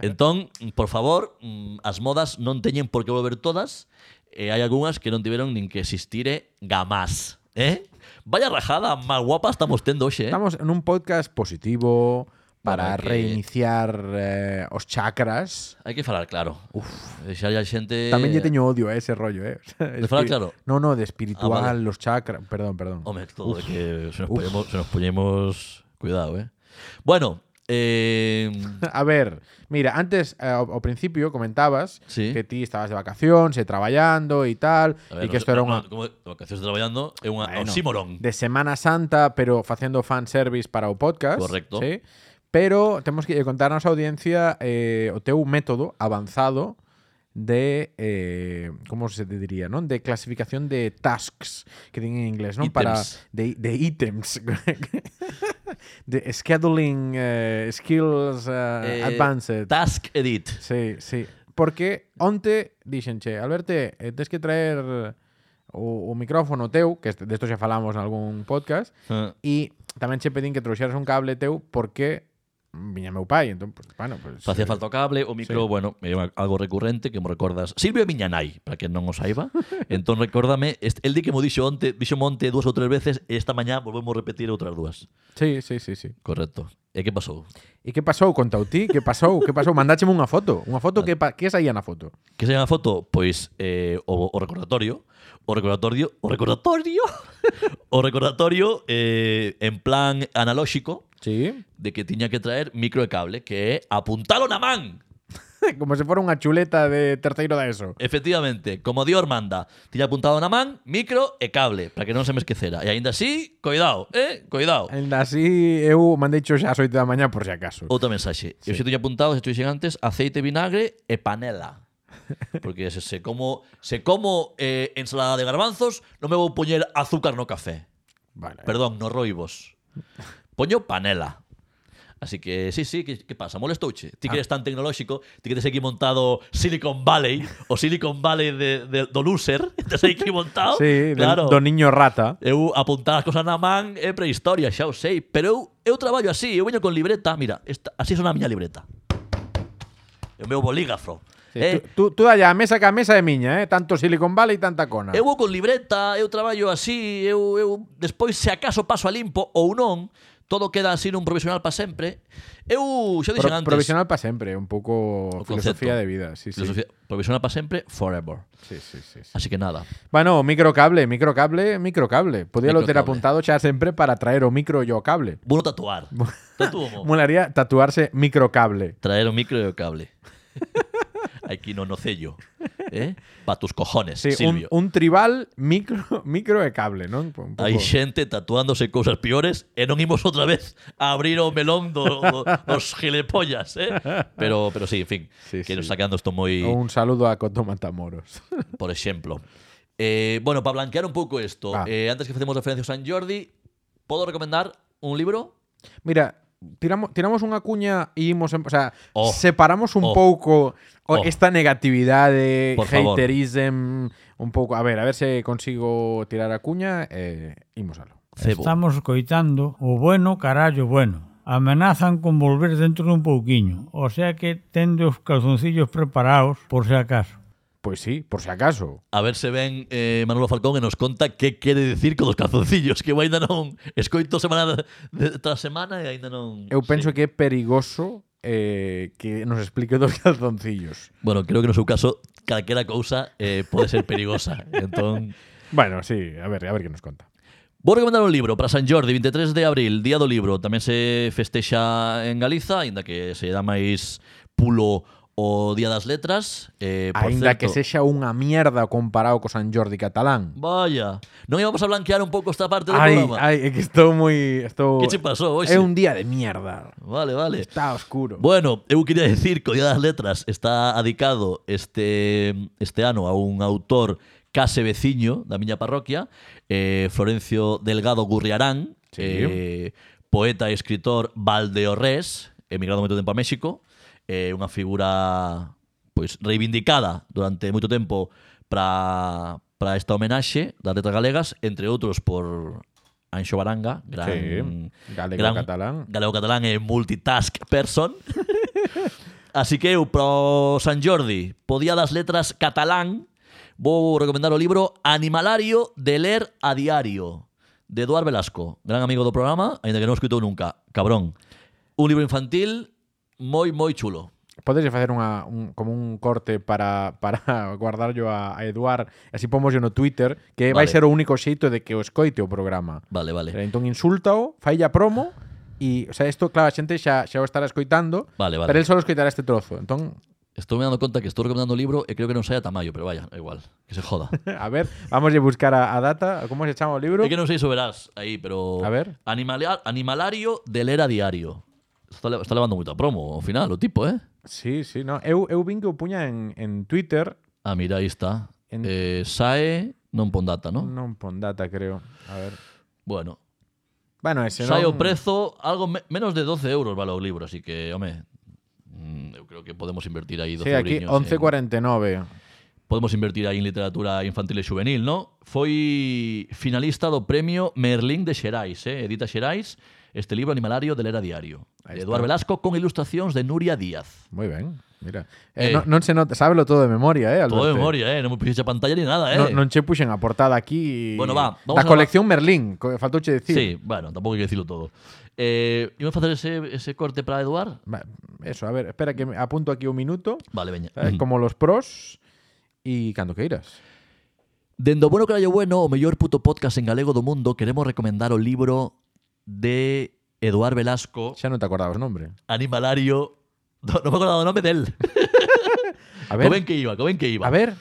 [SPEAKER 2] entón, mm, por favor, mm, as modas non teñen por que volver todas e hai algunhas que non tiveron nin que existire gamás, eh? Vaya rajada, má guapa estamos tendo hoxe, eh?
[SPEAKER 1] Estamos en un podcast positivo para
[SPEAKER 2] Bueno, que-
[SPEAKER 1] reiniciar eh, os chakras.
[SPEAKER 2] Hai que falar claro. Uf, xa hai xente
[SPEAKER 1] Tamén lle teño odio a ese rollo, eh.
[SPEAKER 2] Eh,
[SPEAKER 1] [laughs]
[SPEAKER 2] De falar claro?
[SPEAKER 1] No, no, de espiritual,
[SPEAKER 2] Ah, vale.
[SPEAKER 1] los chakras, perdón, perdón.
[SPEAKER 2] Home, todo de que se nos
[SPEAKER 1] uf.
[SPEAKER 2] poñemos, se nos poñemos cuidado, eh. Bueno, eh
[SPEAKER 1] [laughs] A ver, mira, antes eh, ao ao principio comentabas
[SPEAKER 2] Sí.
[SPEAKER 1] que ti estabas de vacacións, e traballando e tal,
[SPEAKER 2] a
[SPEAKER 1] e
[SPEAKER 2] ver,
[SPEAKER 1] que isto era unha
[SPEAKER 2] Como de vacacións traballando é unha
[SPEAKER 1] Bueno,
[SPEAKER 2] oxímoron.
[SPEAKER 1] de Semana Santa, pero facendo fanservice para o podcast.
[SPEAKER 2] Correcto.
[SPEAKER 1] Sí? Pero temos que contar a nosa audiencia eh, o teu método avanzado de eh, como se te diría, non? De clasificación de tasks que ten en inglés, non? Para
[SPEAKER 2] Ítems.
[SPEAKER 1] de, de ítems. [laughs] de scheduling eh, skills eh,
[SPEAKER 2] Eh,
[SPEAKER 1] advanced.
[SPEAKER 2] Task Edit.
[SPEAKER 1] Sí, sí. Porque onte dixen, che, Alberto, eh, tes que traer o, o micrófono teu, que este- desto xa falamos en algún podcast,
[SPEAKER 2] Ah.
[SPEAKER 1] e tamén che pedín que trouxeras un cable teu porque viña meu pai, entón, pues, bueno, pues, eh,
[SPEAKER 2] Facía falta o cable, o
[SPEAKER 1] Sí.
[SPEAKER 2] micro, bueno, é unha- algo recurrente que me recordas. Silvio é miña nai, para que non o saiba. entón, recórdame, est- el di que mo dixo onte, dixo monte dúas ou tres veces, e esta mañá volvemos repetir outras dúas.
[SPEAKER 1] Sí, sí, sí, sí.
[SPEAKER 2] Correcto. E que pasou?
[SPEAKER 1] E que pasou con Tauti? Que pasou? Que pasou? Mandácheme unha foto, unha foto que pa- que saía na foto.
[SPEAKER 2] Que se llama foto? Pois eh, o, o recordatorio, o recordatorio, o recordatorio, [laughs] o recordatorio eh, en plan analóxico
[SPEAKER 1] Sí.
[SPEAKER 2] de que tiña que traer micro e cable, que é apuntalo na man.
[SPEAKER 1] [laughs] Como se fora unha chuleta de terceiro da ESO.
[SPEAKER 2] Efectivamente, como Dios manda, tiña apuntado na man, micro e cable, para que non se me esquecera. E aínda así, coidado, eh? Coidao.
[SPEAKER 1] Ainda así, eu mandei xo xa ás oito da mañá por si acaso.
[SPEAKER 2] Outra mensaxe. Eu xe tiña apuntado, se dixen antes, aceite, vinagre e panela. Porque se, se como, se como eh, ensalada de garbanzos, non me vou poñer azúcar Eh. no café.
[SPEAKER 1] Vale.
[SPEAKER 2] Perdón, no roibos. Poño panela. Así que sí, sí, que, que pasa? Molestouche. Ti
[SPEAKER 1] Ah.
[SPEAKER 2] que eres tan tecnolóxico, ti que tes aquí montado Silicon Valley, o Silicon Valley de, de, do loser, [laughs] tes aquí montado.
[SPEAKER 1] Sí,
[SPEAKER 2] claro.
[SPEAKER 1] do, do niño rata.
[SPEAKER 2] Eu apuntar as cosas na man é prehistoria, xa o sei, pero eu, eu traballo así, eu veño con libreta, mira, esta, así son a miña libreta. E O meu bolígrafo.
[SPEAKER 1] Sí,
[SPEAKER 2] eh,
[SPEAKER 1] tú, tú, tú dalla a mesa que a mesa é miña, eh? Tanto Silicon Valley e tanta cona.
[SPEAKER 2] Eu vou con libreta, eu traballo así, eu, eu despois se acaso paso a limpo ou non, todo queda así nun provisional para sempre. Eu xa dixen
[SPEAKER 1] Pro-
[SPEAKER 2] antes.
[SPEAKER 1] provisional para sempre, un pouco filosofía de vida. Sí, sí.
[SPEAKER 2] filosofía, provisional para sempre forever.
[SPEAKER 1] Sí, sí, sí, sí.
[SPEAKER 2] Así que nada.
[SPEAKER 1] Bueno, microcable, microcable, microcable. Podía lo ter
[SPEAKER 2] Microcable.
[SPEAKER 1] apuntado xa sempre para traer o micro e o cable.
[SPEAKER 2] Bueno tatuar. Tatuo.
[SPEAKER 1] Molaría tatuarse microcable.
[SPEAKER 2] Traer un micro e o cable. [laughs] Aquí no nocello. ¿Eh? Pa tus cojones,
[SPEAKER 1] Sí, un,
[SPEAKER 2] Silvio.
[SPEAKER 1] un tribal micro, [laughs] micro e cable, non? Un pouco.
[SPEAKER 2] Hai xente tatuándose cousas piores e non imos outra vez a abrir o melón do, do, dos gilepollas, eh? Pero, pero sí, en fin,
[SPEAKER 1] Sí,
[SPEAKER 2] que
[SPEAKER 1] sí.
[SPEAKER 2] nos sacando isto moi...
[SPEAKER 1] Un saludo a Coto Matamoros.
[SPEAKER 2] por exemplo. Eh, bueno, para blanquear un pouco isto,
[SPEAKER 1] Ah.
[SPEAKER 2] eh, antes que facemos referencia ao San Jordi, podo recomendar un libro?
[SPEAKER 1] Mira, tiramos, tiramos unha cuña e imos, en- o sea,
[SPEAKER 2] Oh.
[SPEAKER 1] separamos un
[SPEAKER 2] Oh.
[SPEAKER 1] pouco o-
[SPEAKER 2] Oh.
[SPEAKER 1] esta negatividade,
[SPEAKER 2] Por favor.
[SPEAKER 1] haterism, un pouco, a ver, a ver se consigo tirar a cuña e imos alo.
[SPEAKER 2] Cebo.
[SPEAKER 4] Estamos coitando o bueno carallo bueno. Amenazan con volver dentro dun pouquiño, o sea que tende os calzoncillos preparados por se acaso.
[SPEAKER 1] Pois Pues sí, por se acaso.
[SPEAKER 2] A ver se ven eh, Manolo Falcón e nos conta que quere dicir con os calzoncillos, que eu aínda non escoito semana de, tras semana e aínda non...
[SPEAKER 1] Eu penso
[SPEAKER 2] sí.
[SPEAKER 1] que é perigoso eh, que nos explique dos calzoncillos.
[SPEAKER 2] Bueno, creo que no seu caso calquera cousa eh, pode ser perigosa.
[SPEAKER 1] [laughs]
[SPEAKER 2] entón,
[SPEAKER 1] Bueno, sí, a ver, a ver que nos conta.
[SPEAKER 2] Vou recomendar un libro para San Jordi, 23 de abril, Día do Libro. Tamén se festexa en Galiza, aínda que se dá máis pulo o Día das Letras. Eh, por
[SPEAKER 1] Ainda
[SPEAKER 2] certo,
[SPEAKER 1] que sexa unha mierda comparado co San Jordi catalán.
[SPEAKER 2] Vaya. Non íbamos a blanquear un pouco esta parte do
[SPEAKER 1] Ai,
[SPEAKER 2] programa.
[SPEAKER 1] ai, é que estou moi... Estou...
[SPEAKER 2] Que che pasou hoxe?
[SPEAKER 1] É un día de mierda.
[SPEAKER 2] Vale, vale.
[SPEAKER 1] Está oscuro.
[SPEAKER 2] Bueno, eu quería decir que o Día das Letras está adicado este este ano a un autor case veciño da miña parroquia, eh, Florencio Delgado Gurriarán,
[SPEAKER 1] Sí.
[SPEAKER 2] eh, poeta e escritor valdeorrés, emigrado moito tempo a México, eh, unha figura pois reivindicada durante moito tempo para para esta homenaxe das letras galegas, entre outros por Anxo Baranga, gran
[SPEAKER 1] Sí, galego catalán.
[SPEAKER 2] galego catalán é multitask person. [laughs] Así que eu pro San Jordi, podía das letras catalán, vou recomendar o libro Animalario de ler a diario de Eduard Velasco, gran amigo do programa, aínda que non o escrito nunca, cabrón. Un libro infantil moi moi chulo.
[SPEAKER 1] Podes facer unha, un, como un corte para, [laughs] para guardarlo a, a Eduard Así pomos no Twitter Que vai
[SPEAKER 2] Vale.
[SPEAKER 1] ser o único xeito de que o escoite o programa
[SPEAKER 2] Vale, vale.
[SPEAKER 1] Eh, Entón insúltao, failla promo E, o sea, isto, claro, a xente xa, xa o estará escoitando
[SPEAKER 2] Vale, vale.
[SPEAKER 1] Pero el solo escoitará este trozo Entón,
[SPEAKER 2] Estou me dando conta que estou recomendando o libro e creo que non sai ata maio, pero vaya, é igual, que se joda.
[SPEAKER 1] a ver, vamos a buscar a, a data Como se chama o libro?
[SPEAKER 2] É que non sei se o verás aí, pero...
[SPEAKER 1] A ver.
[SPEAKER 2] Animalia- animalario de ler a diario. Está, le- está levando moita promo, ao final, o tipo, eh?
[SPEAKER 1] Sí, sí, no Eu, eu vin que o puña en, en Twitter
[SPEAKER 2] Ah, mira, aí está.
[SPEAKER 1] En- Mm.
[SPEAKER 2] Eh, sae non pon data, non?
[SPEAKER 1] Non pon data, creo A ver
[SPEAKER 2] Bueno,
[SPEAKER 1] Bueno, ese
[SPEAKER 2] sae
[SPEAKER 1] non...
[SPEAKER 2] o prezo algo me- menos de 12 euros vale o libro, así que, home, mm, eu creo que podemos invertir aí 12
[SPEAKER 1] Sí, aquí
[SPEAKER 2] euriños en-
[SPEAKER 1] 11.49
[SPEAKER 2] podemos invertir aí en literatura infantil e juvenil, non? Foi finalista do premio Merlín de Xerais, eh? Edita Xerais, este libro animalario de Lera Diario.
[SPEAKER 1] Ahí
[SPEAKER 2] de Eduardo Velasco con ilustracións de Nuria Díaz.
[SPEAKER 1] Moi ben, mira. Eh,
[SPEAKER 2] Eh.
[SPEAKER 1] non, non se nota, sábelo todo de memoria, eh, Alberto.
[SPEAKER 2] Todo de memoria, eh? Non me puxeche a pantalla ni nada, eh?
[SPEAKER 1] Non, non che puxen a portada aquí.
[SPEAKER 2] Bueno, va, vamos
[SPEAKER 1] Da
[SPEAKER 2] a-
[SPEAKER 1] colección Merlín, co- faltouche
[SPEAKER 2] sí.
[SPEAKER 1] dicir.
[SPEAKER 2] bueno, tampouco hai que decirlo todo. Eh, imos facer ese, ese corte para Eduard?
[SPEAKER 1] Va, Eso, a ver, espera que me apunto aquí un minuto,
[SPEAKER 2] Vale, veña.
[SPEAKER 1] ¿sabes? Eh, como los pros e cando queiras.
[SPEAKER 2] Dendo bueno carallo bueno, o mellor puto podcast en galego do mundo, queremos recomendar o libro de Eduard Velasco,
[SPEAKER 1] Xa non te acordabas o nombre.
[SPEAKER 2] Animalario... No, non me acordo do nome del.
[SPEAKER 1] A
[SPEAKER 2] Coben
[SPEAKER 1] ver,
[SPEAKER 2] que iba, coben que iba.
[SPEAKER 1] a ver,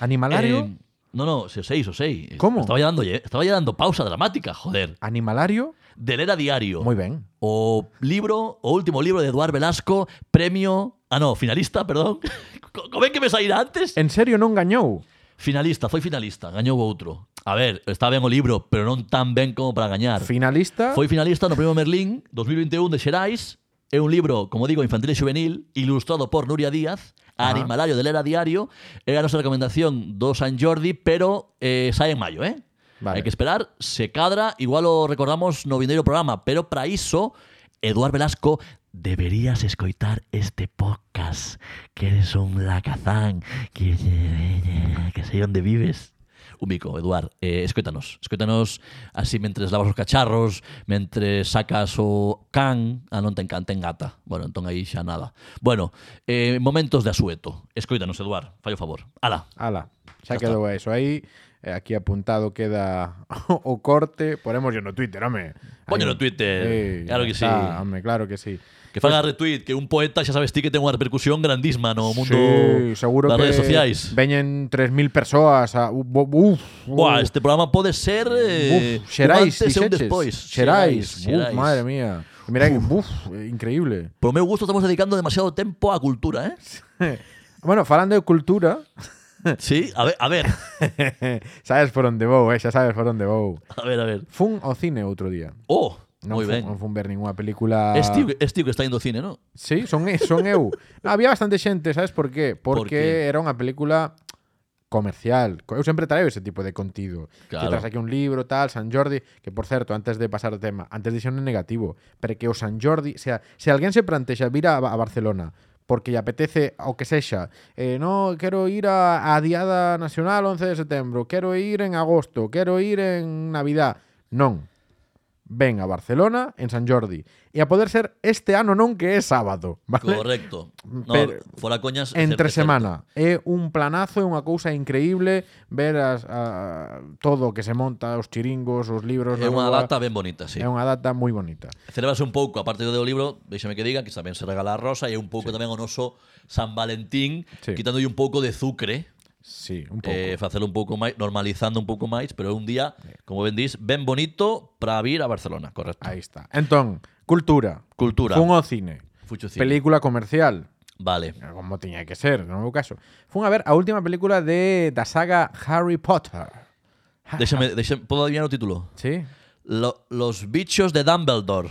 [SPEAKER 1] animalario,
[SPEAKER 2] Eh, no, no, se- seis o seis.
[SPEAKER 1] ¿Cómo?
[SPEAKER 2] Estaba ya, dando, estaba ya dando pausa dramática, joder.
[SPEAKER 1] animalario,
[SPEAKER 2] De leer a diario.
[SPEAKER 1] moi ben.
[SPEAKER 2] O libro, o último libro de Eduard Velasco, premio. Ah, no, finalista, [laughs] perdón. Co- Como é que me saíra antes?
[SPEAKER 1] En serio non gañou.
[SPEAKER 2] Finalista, foi finalista, gañou outro. A ver, está ben o libro, pero non tan ben como para gañar.
[SPEAKER 1] Finalista,
[SPEAKER 2] Foi finalista no Premio Merlín 2021 de Xerais É un libro, como digo, infantil e juvenil, ilustrado por Nuria Díaz,
[SPEAKER 1] Ah.
[SPEAKER 2] animalario de Lera Diario. É a nosa recomendación do San Jordi, pero eh, sai en maio, eh?
[SPEAKER 1] Vale.
[SPEAKER 2] Hai que esperar, se cadra, igual o recordamos no vindeiro programa, pero para iso, Eduard Velasco, deberías escoitar este podcast, que eres un lacazán, que, que sei onde vives. Un mico, Eduard, eh, escoitanos. Escoitanos así mentres lavas os cacharros, mentres sacas o can, ah, non ten can, ten gata. Bueno, entón aí xa nada. Bueno, eh, momentos de asueto. Escoitanos, Eduard, fai o favor. Ala,
[SPEAKER 1] Ala, xa
[SPEAKER 2] Ya
[SPEAKER 1] quedou eso aí. Eh, Aquí apuntado queda [laughs] o corte. Ponemos yo no Twitter, home. Aí.
[SPEAKER 2] Poñelo no Twitter, claro
[SPEAKER 1] ya
[SPEAKER 2] que sí.
[SPEAKER 1] está, home, claro que sí.
[SPEAKER 2] Que faga retweet, que un poeta xa sabes ti que ten unha repercusión grandísima no mundo
[SPEAKER 1] sí, seguro
[SPEAKER 2] das
[SPEAKER 1] que
[SPEAKER 2] redes sociais.
[SPEAKER 1] Veñen 3.000 persoas a uf, uf,
[SPEAKER 2] Buah, este programa pode ser eh,
[SPEAKER 1] uf, xerais,
[SPEAKER 2] un antes e un
[SPEAKER 1] dixeches.
[SPEAKER 2] despois.
[SPEAKER 1] Xerais, uf,
[SPEAKER 2] xerais.
[SPEAKER 1] madre mía. Mira, que, uf, eh, increíble. [laughs]
[SPEAKER 2] Por meu gusto estamos dedicando demasiado tempo á cultura, eh?
[SPEAKER 1] bueno, falando de cultura, [laughs]
[SPEAKER 2] Sí, a ver, a ver,
[SPEAKER 1] sabes por onde vou, eh, xa sabes por onde vou.
[SPEAKER 2] a ver, a ver.
[SPEAKER 1] Fun ao cine outro día.
[SPEAKER 2] Oh,
[SPEAKER 1] Non
[SPEAKER 2] moi
[SPEAKER 1] fun,
[SPEAKER 2] ben.
[SPEAKER 1] non fun ver ninguna película...
[SPEAKER 2] Estiu, estiu que está indo ao cine, ¿no?
[SPEAKER 1] Sí, son, e- son eu. No, había bastante xente, sabes por qué? Porque
[SPEAKER 2] Por qué?
[SPEAKER 1] era unha película comercial. Co- Eu sempre traio ese tipo de contido.
[SPEAKER 2] Claro.
[SPEAKER 1] Que tras aquí un libro, tal, San Jordi, que por certo, antes de pasar o tema, antes dixen en negativo, pero que o San Jordi, o sea, se alguén se plantexa vir a, Ba- a Barcelona porque lle apetece o que sexa, eh, no, quero ir a, a Diada Nacional 11 de setembro, quero ir en agosto, quero ir en Navidad. Non, ven a Barcelona en San Jordi. E a poder ser este ano non que é sábado, vale?
[SPEAKER 2] Correcto. No,
[SPEAKER 1] Pero-
[SPEAKER 2] fora coñas.
[SPEAKER 1] Entre
[SPEAKER 2] é certo, é certo.
[SPEAKER 1] semana. É un planazo, é unha cousa increíble ver as, a, todo o que se monta, os chiringos, os libros...
[SPEAKER 2] É
[SPEAKER 1] na
[SPEAKER 2] unha
[SPEAKER 1] rúa.
[SPEAKER 2] data ben bonita, sí.
[SPEAKER 1] É unha data moi bonita.
[SPEAKER 2] Celebrase un pouco, aparte do libro, déxame que diga, que tamén se regala a rosa e é un pouco tamén o noso San Valentín,
[SPEAKER 1] Sí.
[SPEAKER 2] quitándolle un pouco de zucre,
[SPEAKER 1] Sí, un pouco.
[SPEAKER 2] eh, facelo un pouco máis, normalizando un pouco máis, pero é un día, como ben dís, ben bonito para vir a Barcelona, correcto.
[SPEAKER 1] Aí está. Entón, cultura.
[SPEAKER 2] Cultura.
[SPEAKER 1] Fun ao cine.
[SPEAKER 2] Fucho cine.
[SPEAKER 1] Película comercial.
[SPEAKER 2] Vale.
[SPEAKER 1] Como tiña que ser, no meu caso. Fun a ver a última película de da saga Harry Potter.
[SPEAKER 2] Déxame, déxame, podo adivinar o título?
[SPEAKER 1] Sí?
[SPEAKER 2] Lo- los bichos
[SPEAKER 1] [laughs]
[SPEAKER 2] de Dumbledore.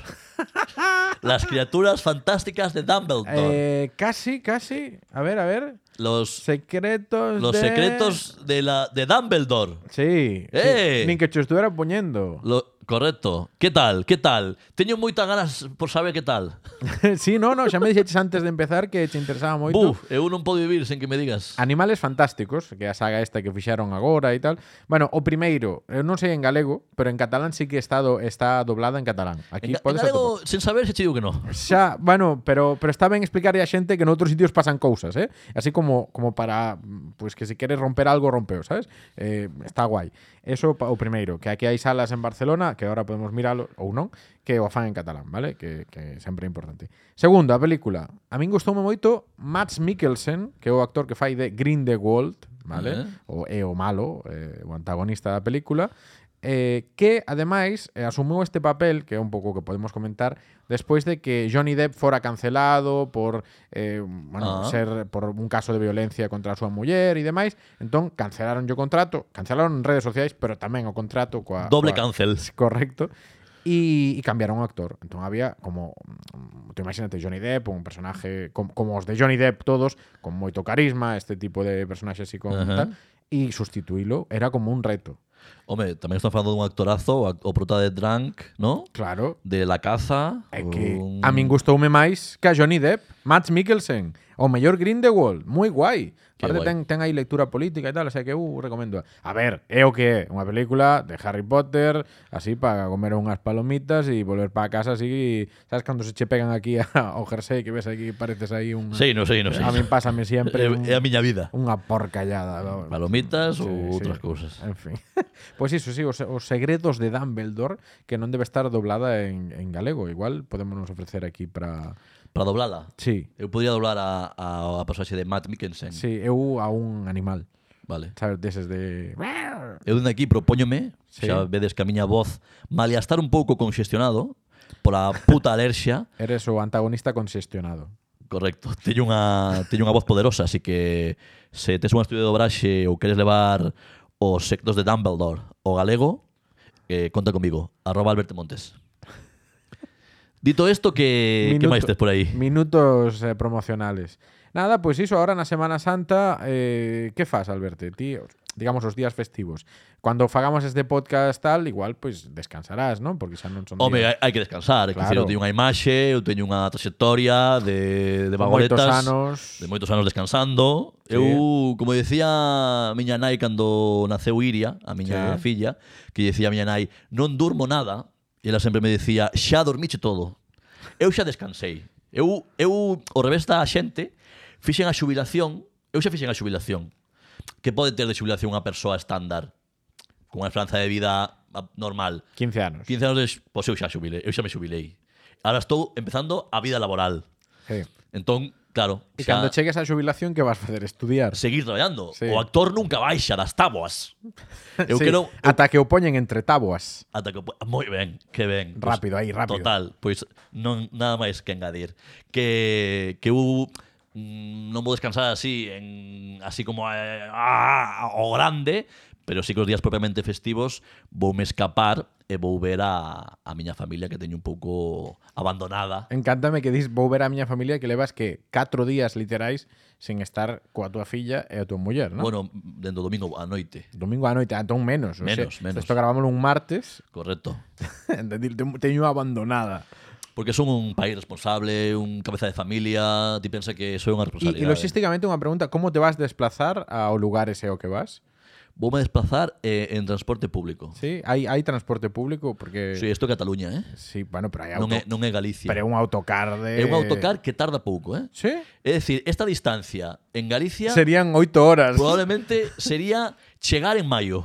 [SPEAKER 2] Las criaturas fantásticas de Dumbledore.
[SPEAKER 1] Eh, casi, casi. A ver, a ver.
[SPEAKER 2] los
[SPEAKER 1] Secretos
[SPEAKER 2] los
[SPEAKER 1] de-
[SPEAKER 2] secretos de la de Dumbledore.
[SPEAKER 1] Sí,
[SPEAKER 2] Eh.
[SPEAKER 1] sí. Nin que cho estuvera poñendo.
[SPEAKER 2] Lo- correcto. Que tal? Que tal? Teño moitas ganas por saber que tal.
[SPEAKER 1] [laughs] sí, no, no, xa me dixeches antes de empezar que te interesaba moito.
[SPEAKER 2] Buf, eu non podo vivir sen que me digas.
[SPEAKER 1] Animales Fantásticos, que é a saga esta que fixaron agora e tal. Bueno, o primeiro, eu non sei en galego, pero en catalán sí que está, do, está doblada en catalán.
[SPEAKER 2] En,
[SPEAKER 1] Aquí
[SPEAKER 2] ga- en
[SPEAKER 1] podes
[SPEAKER 2] galego, sen saber se che digo que non.
[SPEAKER 1] atopar. Xa, bueno, pero pero está ben explicarlle a xente que noutros sitios pasan cousas, eh? Así como como para mm, pois pues que se queres romper algo, rompeo, sabes? Eh, está guai. Eso pa- o primeiro, que aquí hai salas en Barcelona, que agora podemos miralo ou non, que o fan en catalán, vale? Que, que sempre é importante. Segundo, a película. A min gustoume moito Mads Mikkelsen, que é o actor que fai de Grindelwald, vale?
[SPEAKER 2] Eh.
[SPEAKER 1] O é o malo, eh, o antagonista da película, eh, que ademais eh, asumiu este papel, que é un pouco o que podemos comentar, despois de que Johnny Depp fora cancelado por eh, bueno,
[SPEAKER 2] Ah.
[SPEAKER 1] ser por un caso de violencia contra a súa muller e demais, entón cancelaron o contrato, cancelaron en redes sociais, pero tamén o contrato coa
[SPEAKER 2] Doble
[SPEAKER 1] coa-
[SPEAKER 2] cancel.
[SPEAKER 1] correcto. Y, y cambiaron a actor. Entonces había como, mm, tú imagínate, Johnny Depp, un personaje com- como os de Johnny Depp todos, con moito carisma, este tipo de personaxes así con
[SPEAKER 2] Ajá.
[SPEAKER 1] tal, y sustituílo era como un reto.
[SPEAKER 2] Home, tamén están falando dun actorazo, o act- o prota de Drunk, ¿no?
[SPEAKER 1] Claro,
[SPEAKER 2] De La Caza.
[SPEAKER 1] é que
[SPEAKER 2] un-
[SPEAKER 1] a min gustoume máis que a Johnny Depp, Matt Mikkelsen, o mellor Grindelwald, moi guai.
[SPEAKER 2] Que
[SPEAKER 1] Aparte
[SPEAKER 2] guai.
[SPEAKER 1] ten, ten aí lectura política e tal, o sea que eu recomendo. A ver, é o que é, unha película de Harry Potter, así para comer unhas palomitas e volver para casa así, sabes cando se che pegan aquí a, ao jersey que ves aquí pareces aí un
[SPEAKER 2] Sí, non sei, non sei.
[SPEAKER 1] A min pásame
[SPEAKER 2] É, [laughs]
[SPEAKER 1] sempre un,
[SPEAKER 2] é a miña vida.
[SPEAKER 1] unha porcallada.
[SPEAKER 2] Palomitas ou
[SPEAKER 1] Sí, sí.
[SPEAKER 2] outras cousas.
[SPEAKER 1] En fin. [laughs] Pois iso, sí, os, os segredos de Dumbledore que non debe estar doblada en, en galego. Igual podemos nos ofrecer aquí para...
[SPEAKER 2] Para doblala.
[SPEAKER 1] Sí,
[SPEAKER 2] Eu podría doblar a, a, a personaxe de Matt Mikkelsen.
[SPEAKER 1] sí, eu a un animal.
[SPEAKER 2] Vale.
[SPEAKER 1] Sabes, deses de...
[SPEAKER 2] Eu dende aquí propóñome,
[SPEAKER 1] Sí.
[SPEAKER 2] xa vedes que a miña voz, malia estar un pouco congestionado, pola puta
[SPEAKER 1] [laughs]
[SPEAKER 2] alerxia,
[SPEAKER 1] Eres o antagonista congestionado.
[SPEAKER 2] correcto, teño unha, teño unha voz poderosa, así que se tes un estudio de dobraxe ou queres levar os sectos de Dumbledore o galego, eh, conta comigo, arroba Alberto Montes. Dito esto, que, que máis tes por aí?
[SPEAKER 1] Minutos eh, promocionales. Nada, pois iso, ahora na Semana Santa, eh, que fas, Alberto? Ti, os- digamos, os días festivos. Cando fagamos este podcast tal, igual, pois descansarás, non? Porque xa non son
[SPEAKER 2] Home, eh,
[SPEAKER 1] días.
[SPEAKER 2] hai, hai que descansar. Claro. Quer
[SPEAKER 1] Claro.
[SPEAKER 2] eu teño unha imaxe, eu teño unha trayectoria de, de
[SPEAKER 1] Con moitos
[SPEAKER 2] bagoletas.
[SPEAKER 1] anos.
[SPEAKER 2] De moitos anos descansando.
[SPEAKER 1] Sí.
[SPEAKER 2] Eu, como decía a miña nai cando naceu Iria, a miña
[SPEAKER 1] Sí.
[SPEAKER 2] filla, que decía a miña nai, non durmo nada. E ela sempre me decía, xa dormiche todo. Eu xa descansei. Eu, eu o revés da xente, fixen a xubilación, eu xa fixen a xubilación. Que pode ter de xubilación unha persoa estándar, cunha esperanza de vida ah, normal.
[SPEAKER 1] 15 anos.
[SPEAKER 2] 15 anos de, pois eu xa xubilei, eu xa me xubilei. Ahora estou empezando a vida laboral.
[SPEAKER 1] Sí.
[SPEAKER 2] Entón, claro,
[SPEAKER 1] E cando chegues á xubilación, que vas facer?
[SPEAKER 2] [laughs]
[SPEAKER 1] Estudiar.
[SPEAKER 2] seguir traballando.
[SPEAKER 1] Sí.
[SPEAKER 2] O actor nunca baixa das
[SPEAKER 1] [laughs]
[SPEAKER 2] táboas. Eu
[SPEAKER 1] Sí,
[SPEAKER 2] quero
[SPEAKER 1] Ata que o poñen entre táboas.
[SPEAKER 2] ata que po- moi ben, que ben. pues,
[SPEAKER 1] Rápido, aí, rápido.
[SPEAKER 2] Total, pois non nada máis que engadir. Que que eu mm, non vou descansar así en así como eh, ah, o grande, pero sí que os días propiamente festivos voume escapar e vou ver a, a miña familia que teño un pouco abandonada
[SPEAKER 1] Encántame que dis vou ver a miña familia que levas que 4 días literais sen estar coa túa filla e a túa muller, non?
[SPEAKER 2] Bueno, dentro do domingo á noite,
[SPEAKER 1] Domingo á noite, entón menos. o
[SPEAKER 2] Menos, menos.
[SPEAKER 1] Isto gravámoslo un martes, [laughs]
[SPEAKER 2] correcto.
[SPEAKER 1] entendí, te- teño abandonada.
[SPEAKER 2] Porque son un país responsable, un cabeza de familia, ti pensa que soy
[SPEAKER 1] E,
[SPEAKER 2] unha responsabilidade.
[SPEAKER 1] e logísticamente unha pregunta, como te vas desplazar ao lugar ese ao que vas?
[SPEAKER 2] Voume desplazar eh, en transporte público.
[SPEAKER 1] Sí, hai, hai transporte público porque
[SPEAKER 2] Sí, isto é Cataluña, eh?
[SPEAKER 1] Sí, bueno, pero hai auto,
[SPEAKER 2] Non é, non é Galicia.
[SPEAKER 1] pero é un autocar de
[SPEAKER 2] É un autocar que tarda pouco, eh?
[SPEAKER 1] Sí.
[SPEAKER 2] É dicir, esta distancia en Galicia
[SPEAKER 1] Serían 8 horas.
[SPEAKER 2] probablemente sería chegar
[SPEAKER 1] [laughs]
[SPEAKER 2] en maio.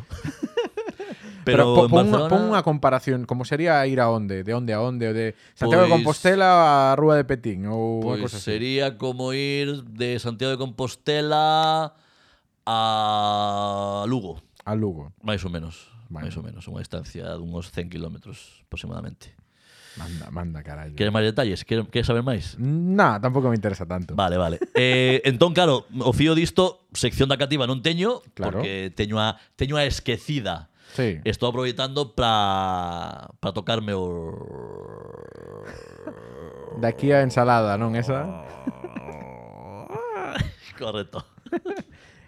[SPEAKER 2] Pero,
[SPEAKER 1] po-
[SPEAKER 2] en
[SPEAKER 1] pon,
[SPEAKER 2] Barcelona...
[SPEAKER 1] unha, pon unha comparación, como sería ir a onde, de onde a onde, o de Santiago de
[SPEAKER 2] Pois-
[SPEAKER 1] Compostela a Rúa de Petín ou unha
[SPEAKER 2] Pois
[SPEAKER 1] cousa así.
[SPEAKER 2] Pues sería como ir de Santiago de Compostela a Lugo.
[SPEAKER 1] A Lugo.
[SPEAKER 2] Máis ou menos.
[SPEAKER 1] Vale.
[SPEAKER 2] Máis ou menos. Unha distancia dunhos 100 kilómetros aproximadamente.
[SPEAKER 1] Manda, manda carallo.
[SPEAKER 2] Queres máis detalles? Queres, queres saber máis?
[SPEAKER 1] Nah, tampouco me interesa tanto.
[SPEAKER 2] Vale, vale.
[SPEAKER 1] [laughs]
[SPEAKER 2] Eh, entón, claro, o fío disto, sección da cativa non teño,
[SPEAKER 1] Claro.
[SPEAKER 2] porque teño a, teño a esquecida.
[SPEAKER 1] Sí.
[SPEAKER 2] Estou aproveitando para para tocarme o...
[SPEAKER 1] Daqui a ensalada, non esa?
[SPEAKER 2] Correcto.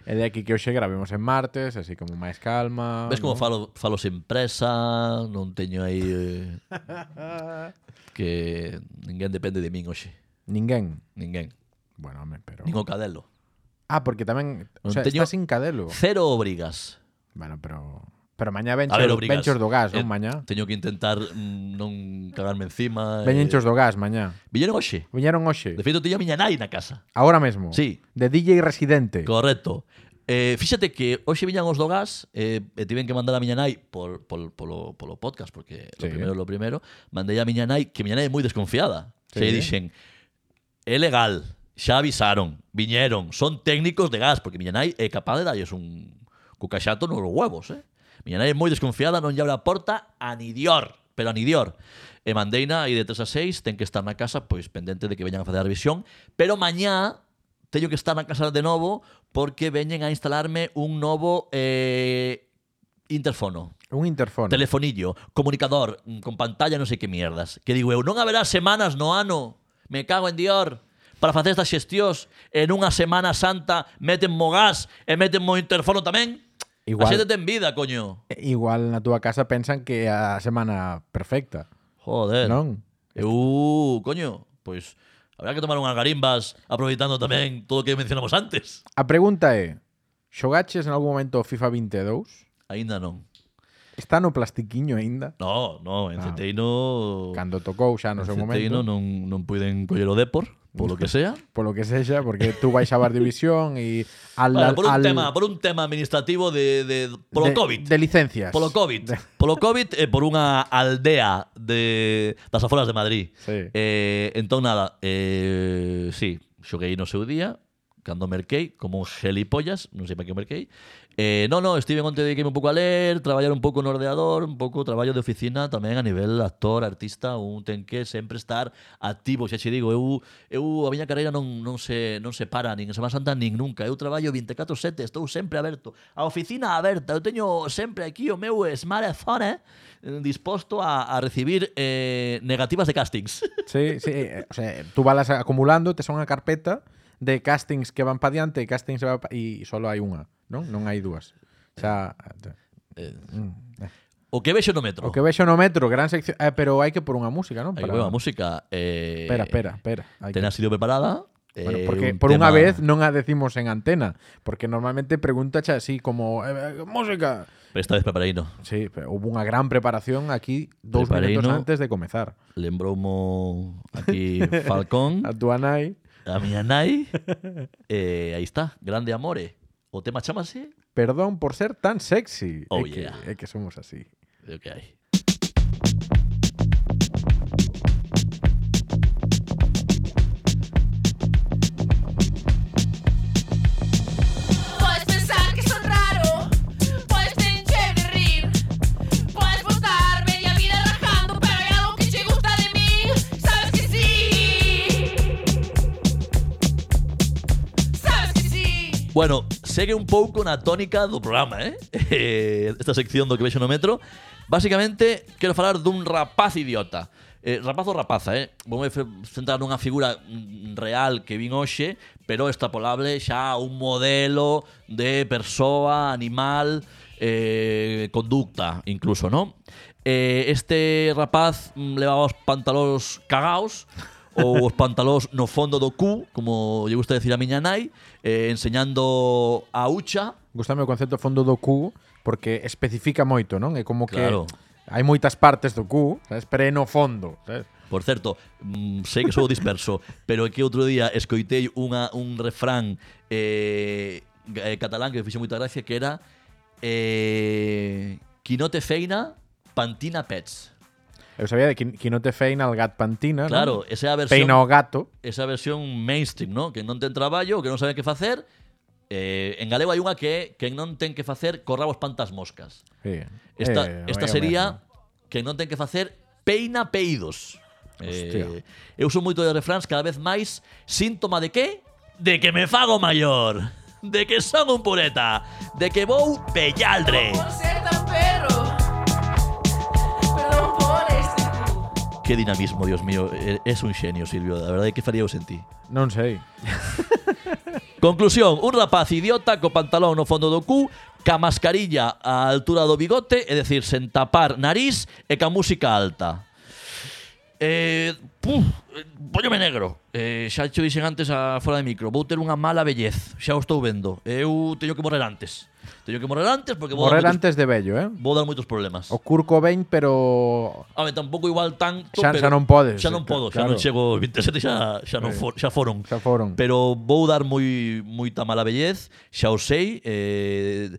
[SPEAKER 1] E de aquí que hoxe gravemos en martes, así como máis calma.
[SPEAKER 2] Ves
[SPEAKER 1] non?
[SPEAKER 2] como falo, falo sen presa, non teño
[SPEAKER 1] [laughs]
[SPEAKER 2] aí... eh, que ninguén depende de min hoxe.
[SPEAKER 1] Ninguén.
[SPEAKER 2] Ninguén.
[SPEAKER 1] Bueno, home, pero...
[SPEAKER 2] Nin o cadelo.
[SPEAKER 1] Ah, porque tamén... O
[SPEAKER 2] Non
[SPEAKER 1] sea,
[SPEAKER 2] teño-
[SPEAKER 1] está sin cadelo.
[SPEAKER 2] Cero obrigas.
[SPEAKER 1] Bueno, pero... Pero mañá venchos,
[SPEAKER 2] A ver, obrigas.
[SPEAKER 1] venchos do gas,
[SPEAKER 2] Eh,
[SPEAKER 1] non? Mañá.
[SPEAKER 2] Teño que intentar mm, non cagarme encima.
[SPEAKER 1] Venchos do gas, mañá.
[SPEAKER 2] Viñeron hoxe.
[SPEAKER 1] Viñeron hoxe.
[SPEAKER 2] eh, De feito, tiña a miña nai na casa.
[SPEAKER 1] Ahora mesmo.
[SPEAKER 2] Sí.
[SPEAKER 1] De DJ Residente.
[SPEAKER 2] Correcto. Eh, fíxate que hoxe viñan os do gas eh, e tiven que mandar a miña nai por, por, polo, polo podcast, porque
[SPEAKER 1] Sí.
[SPEAKER 2] lo primeiro é lo primeiro, mandei a miña nai, que miña nai é moi desconfiada.
[SPEAKER 1] Sí.
[SPEAKER 2] Se lle dixen, é legal, xa avisaron, viñeron, son técnicos de gas, porque miña nai é capaz de darlles un cucaxato nos huevos, eh? Miña nai é moi desconfiada, non lle abre a porta a ni dior, pero a ni dior. E mandeina aí de 3 a 6, ten que estar na casa, pois pendente de que veñan a facer a revisión, pero mañá teño que estar na casa de novo porque veñen a instalarme un novo eh, interfono.
[SPEAKER 1] Un interfono.
[SPEAKER 2] Telefonillo, comunicador, mm, con pantalla non sei que mierdas. Que digo eu, non haberá semanas no ano, me cago en Dior, para facer estas xestións en unha semana santa meten mo gas e meten mo interfono tamén.
[SPEAKER 1] Igual.
[SPEAKER 2] A xente ten vida, coño.
[SPEAKER 1] Igual na túa casa pensan que é a semana perfecta.
[SPEAKER 2] Joder.
[SPEAKER 1] Non?
[SPEAKER 2] Eu, coño, pois habrá que tomar unhas garimbas aproveitando tamén todo o que mencionamos antes.
[SPEAKER 1] A pregunta é, xogaches en algún momento o FIFA 22?
[SPEAKER 2] Aínda non.
[SPEAKER 1] Está no plastiquiño aínda?
[SPEAKER 2] No, no, en
[SPEAKER 1] Ah.
[SPEAKER 2] Ceteino...
[SPEAKER 1] Cando tocou xa no
[SPEAKER 2] en
[SPEAKER 1] seu
[SPEAKER 2] Ceteino
[SPEAKER 1] momento.
[SPEAKER 2] non, non puiden coller o Depor, polo que sea.
[SPEAKER 1] Polo que sexa, porque tú vais a bar división e al,
[SPEAKER 2] Vale, por un
[SPEAKER 1] al-
[SPEAKER 2] tema, por un tema administrativo de, de
[SPEAKER 1] de-
[SPEAKER 2] polo COVID.
[SPEAKER 1] De licencias.
[SPEAKER 2] Polo COVID. Polo COVID e por unha aldea de das aforas de Madrid.
[SPEAKER 1] Sí.
[SPEAKER 2] Eh, entón nada, eh, sí, xoguei no seu día, cando merquei, como un gelipollas, non sei para que merquei. Eh, non, non, estive onte dediquei un pouco a ler, traballar un pouco no ordenador, un pouco traballo de oficina tamén a nivel actor, artista, un ten que sempre estar activo, xa che digo, eu, eu a miña carreira non, non, se, non se para, nin en Semana Santa, nin nunca. Eu traballo 24-7, estou sempre aberto. A oficina aberta, eu teño sempre aquí o meu smartphone, eh, disposto a, a recibir eh, negativas de castings. [laughs]
[SPEAKER 1] Sí, sí. eh, O sea, tú vas acumulando, te son a carpeta de castings que van para diante e castings que van pa... e solo hai unha, non? Non hai dúas. O sea,
[SPEAKER 2] O que vexo no metro.
[SPEAKER 1] o que vexo no metro, gran sección, eh, pero hai que por unha música, non?
[SPEAKER 2] Aí veo a música. Eh,
[SPEAKER 1] Espera, espera, espera. Hai que-
[SPEAKER 2] Ten sido preparada.
[SPEAKER 1] Bueno,
[SPEAKER 2] eh,
[SPEAKER 1] porque
[SPEAKER 2] un
[SPEAKER 1] por unha
[SPEAKER 2] tema-
[SPEAKER 1] vez non a decimos en antena, porque normalmente pregunta así como eh, eh, música.
[SPEAKER 2] Pero esta vez preparei no.
[SPEAKER 1] Sí, pero houve unha gran preparación aquí dous
[SPEAKER 2] Preparei,
[SPEAKER 1] minutos
[SPEAKER 2] no?
[SPEAKER 1] antes de comezar.
[SPEAKER 2] Lembroumo
[SPEAKER 1] [laughs]
[SPEAKER 2] aquí Falcón,
[SPEAKER 1] A túa nai,
[SPEAKER 2] a miña nai. Eh, aí está, Grande Amore. O tema chamase
[SPEAKER 1] perdón por ser tan sexy.
[SPEAKER 2] Oh,
[SPEAKER 1] é, que,
[SPEAKER 2] yeah.
[SPEAKER 1] é que somos así.
[SPEAKER 2] É o que hai.
[SPEAKER 5] Puedes pensar que soy raro, puedes pensar y rir, puedes votar media vida rajando, pero hay algo que te gusta de mí, sabes que sí, sabes que sí.
[SPEAKER 2] Bueno, segue un pouco na tónica do programa, eh? [laughs] Eh, Esta sección do que vexo no metro. Básicamente, quero falar dun rapaz idiota. Eh, rapaz ou rapaza, eh? Vou me fe- centrar nunha figura mm, real que vin hoxe, pero extrapolable xa a un modelo de persoa, animal, eh, conducta, incluso, non? Eh, este rapaz mm, levaba os pantalóns cagaos, ou os pantalóns no fondo do cu, como lle gusta decir a miña nai, eh, enseñando a hucha.
[SPEAKER 1] Gústame o concepto fondo do cubo porque especifica moito, non? É como que
[SPEAKER 2] Claro.
[SPEAKER 1] hai moitas partes do cubo, sabes? Pero é no fondo, sabes?
[SPEAKER 2] Por certo, mm, sei que sou disperso, [laughs] pero é que outro día escoitei unha, un refrán eh, ga- eh, catalán que me fixe moita gracia, que era eh, Qui no te feina, pantina pets.
[SPEAKER 1] Eu sabía de qui, qui no te feina al gat pantina,
[SPEAKER 2] Claro,
[SPEAKER 1] non?
[SPEAKER 2] esa é a versión...
[SPEAKER 1] Peina o gato.
[SPEAKER 2] esa versión mainstream, ¿no? Que non ten traballo, que non saben que facer. Eh, en galego hai unha que é que non ten que facer corrabos pantas moscas.
[SPEAKER 1] Sí.
[SPEAKER 2] Esta,
[SPEAKER 1] Eh, é
[SPEAKER 2] esta
[SPEAKER 1] o
[SPEAKER 2] sería
[SPEAKER 1] mesmo.
[SPEAKER 2] que non ten que facer peina peidos.
[SPEAKER 1] Hostia.
[SPEAKER 2] Eh, eu son moito de refráns cada vez máis síntoma de que? De que me fago maior, de que son un pureta, de que vou pellaldre.
[SPEAKER 5] Por ser tan perro, perdón por este culo.
[SPEAKER 2] Que dinamismo, Dios mío, E- es un xenio, Silvio, da verdade que faría eu sen ti.
[SPEAKER 1] Non sei.
[SPEAKER 2] Conclusión, un rapaz idiota co pantalón no fondo do cu, ca mascarilla á altura do bigote, é decir, sen tapar nariz e ca música alta. Eh, puf, eh, póllome negro. Eh, xa xo dixen antes a fora de micro, vou ter unha mala bellez, xa o estou vendo. Eu teño que morrer antes. Teño que morrer antes porque vou,
[SPEAKER 1] Morrer
[SPEAKER 2] dar,
[SPEAKER 1] antes de vello, eh?
[SPEAKER 2] Moitos, vou dar moitos problemas.
[SPEAKER 1] O Kurt Cobain, pero
[SPEAKER 2] A ver, tampouco igual tanto,
[SPEAKER 1] Xa-
[SPEAKER 2] pero
[SPEAKER 1] xa non podes,
[SPEAKER 2] Xa non
[SPEAKER 1] eh,
[SPEAKER 2] podo, xa
[SPEAKER 1] claro. Eh.
[SPEAKER 2] non chego aos 27, xa, xa, non for, xa foron.
[SPEAKER 1] xa foron.
[SPEAKER 2] Pero vou dar moi moita mala bellez, xa o sei, eh,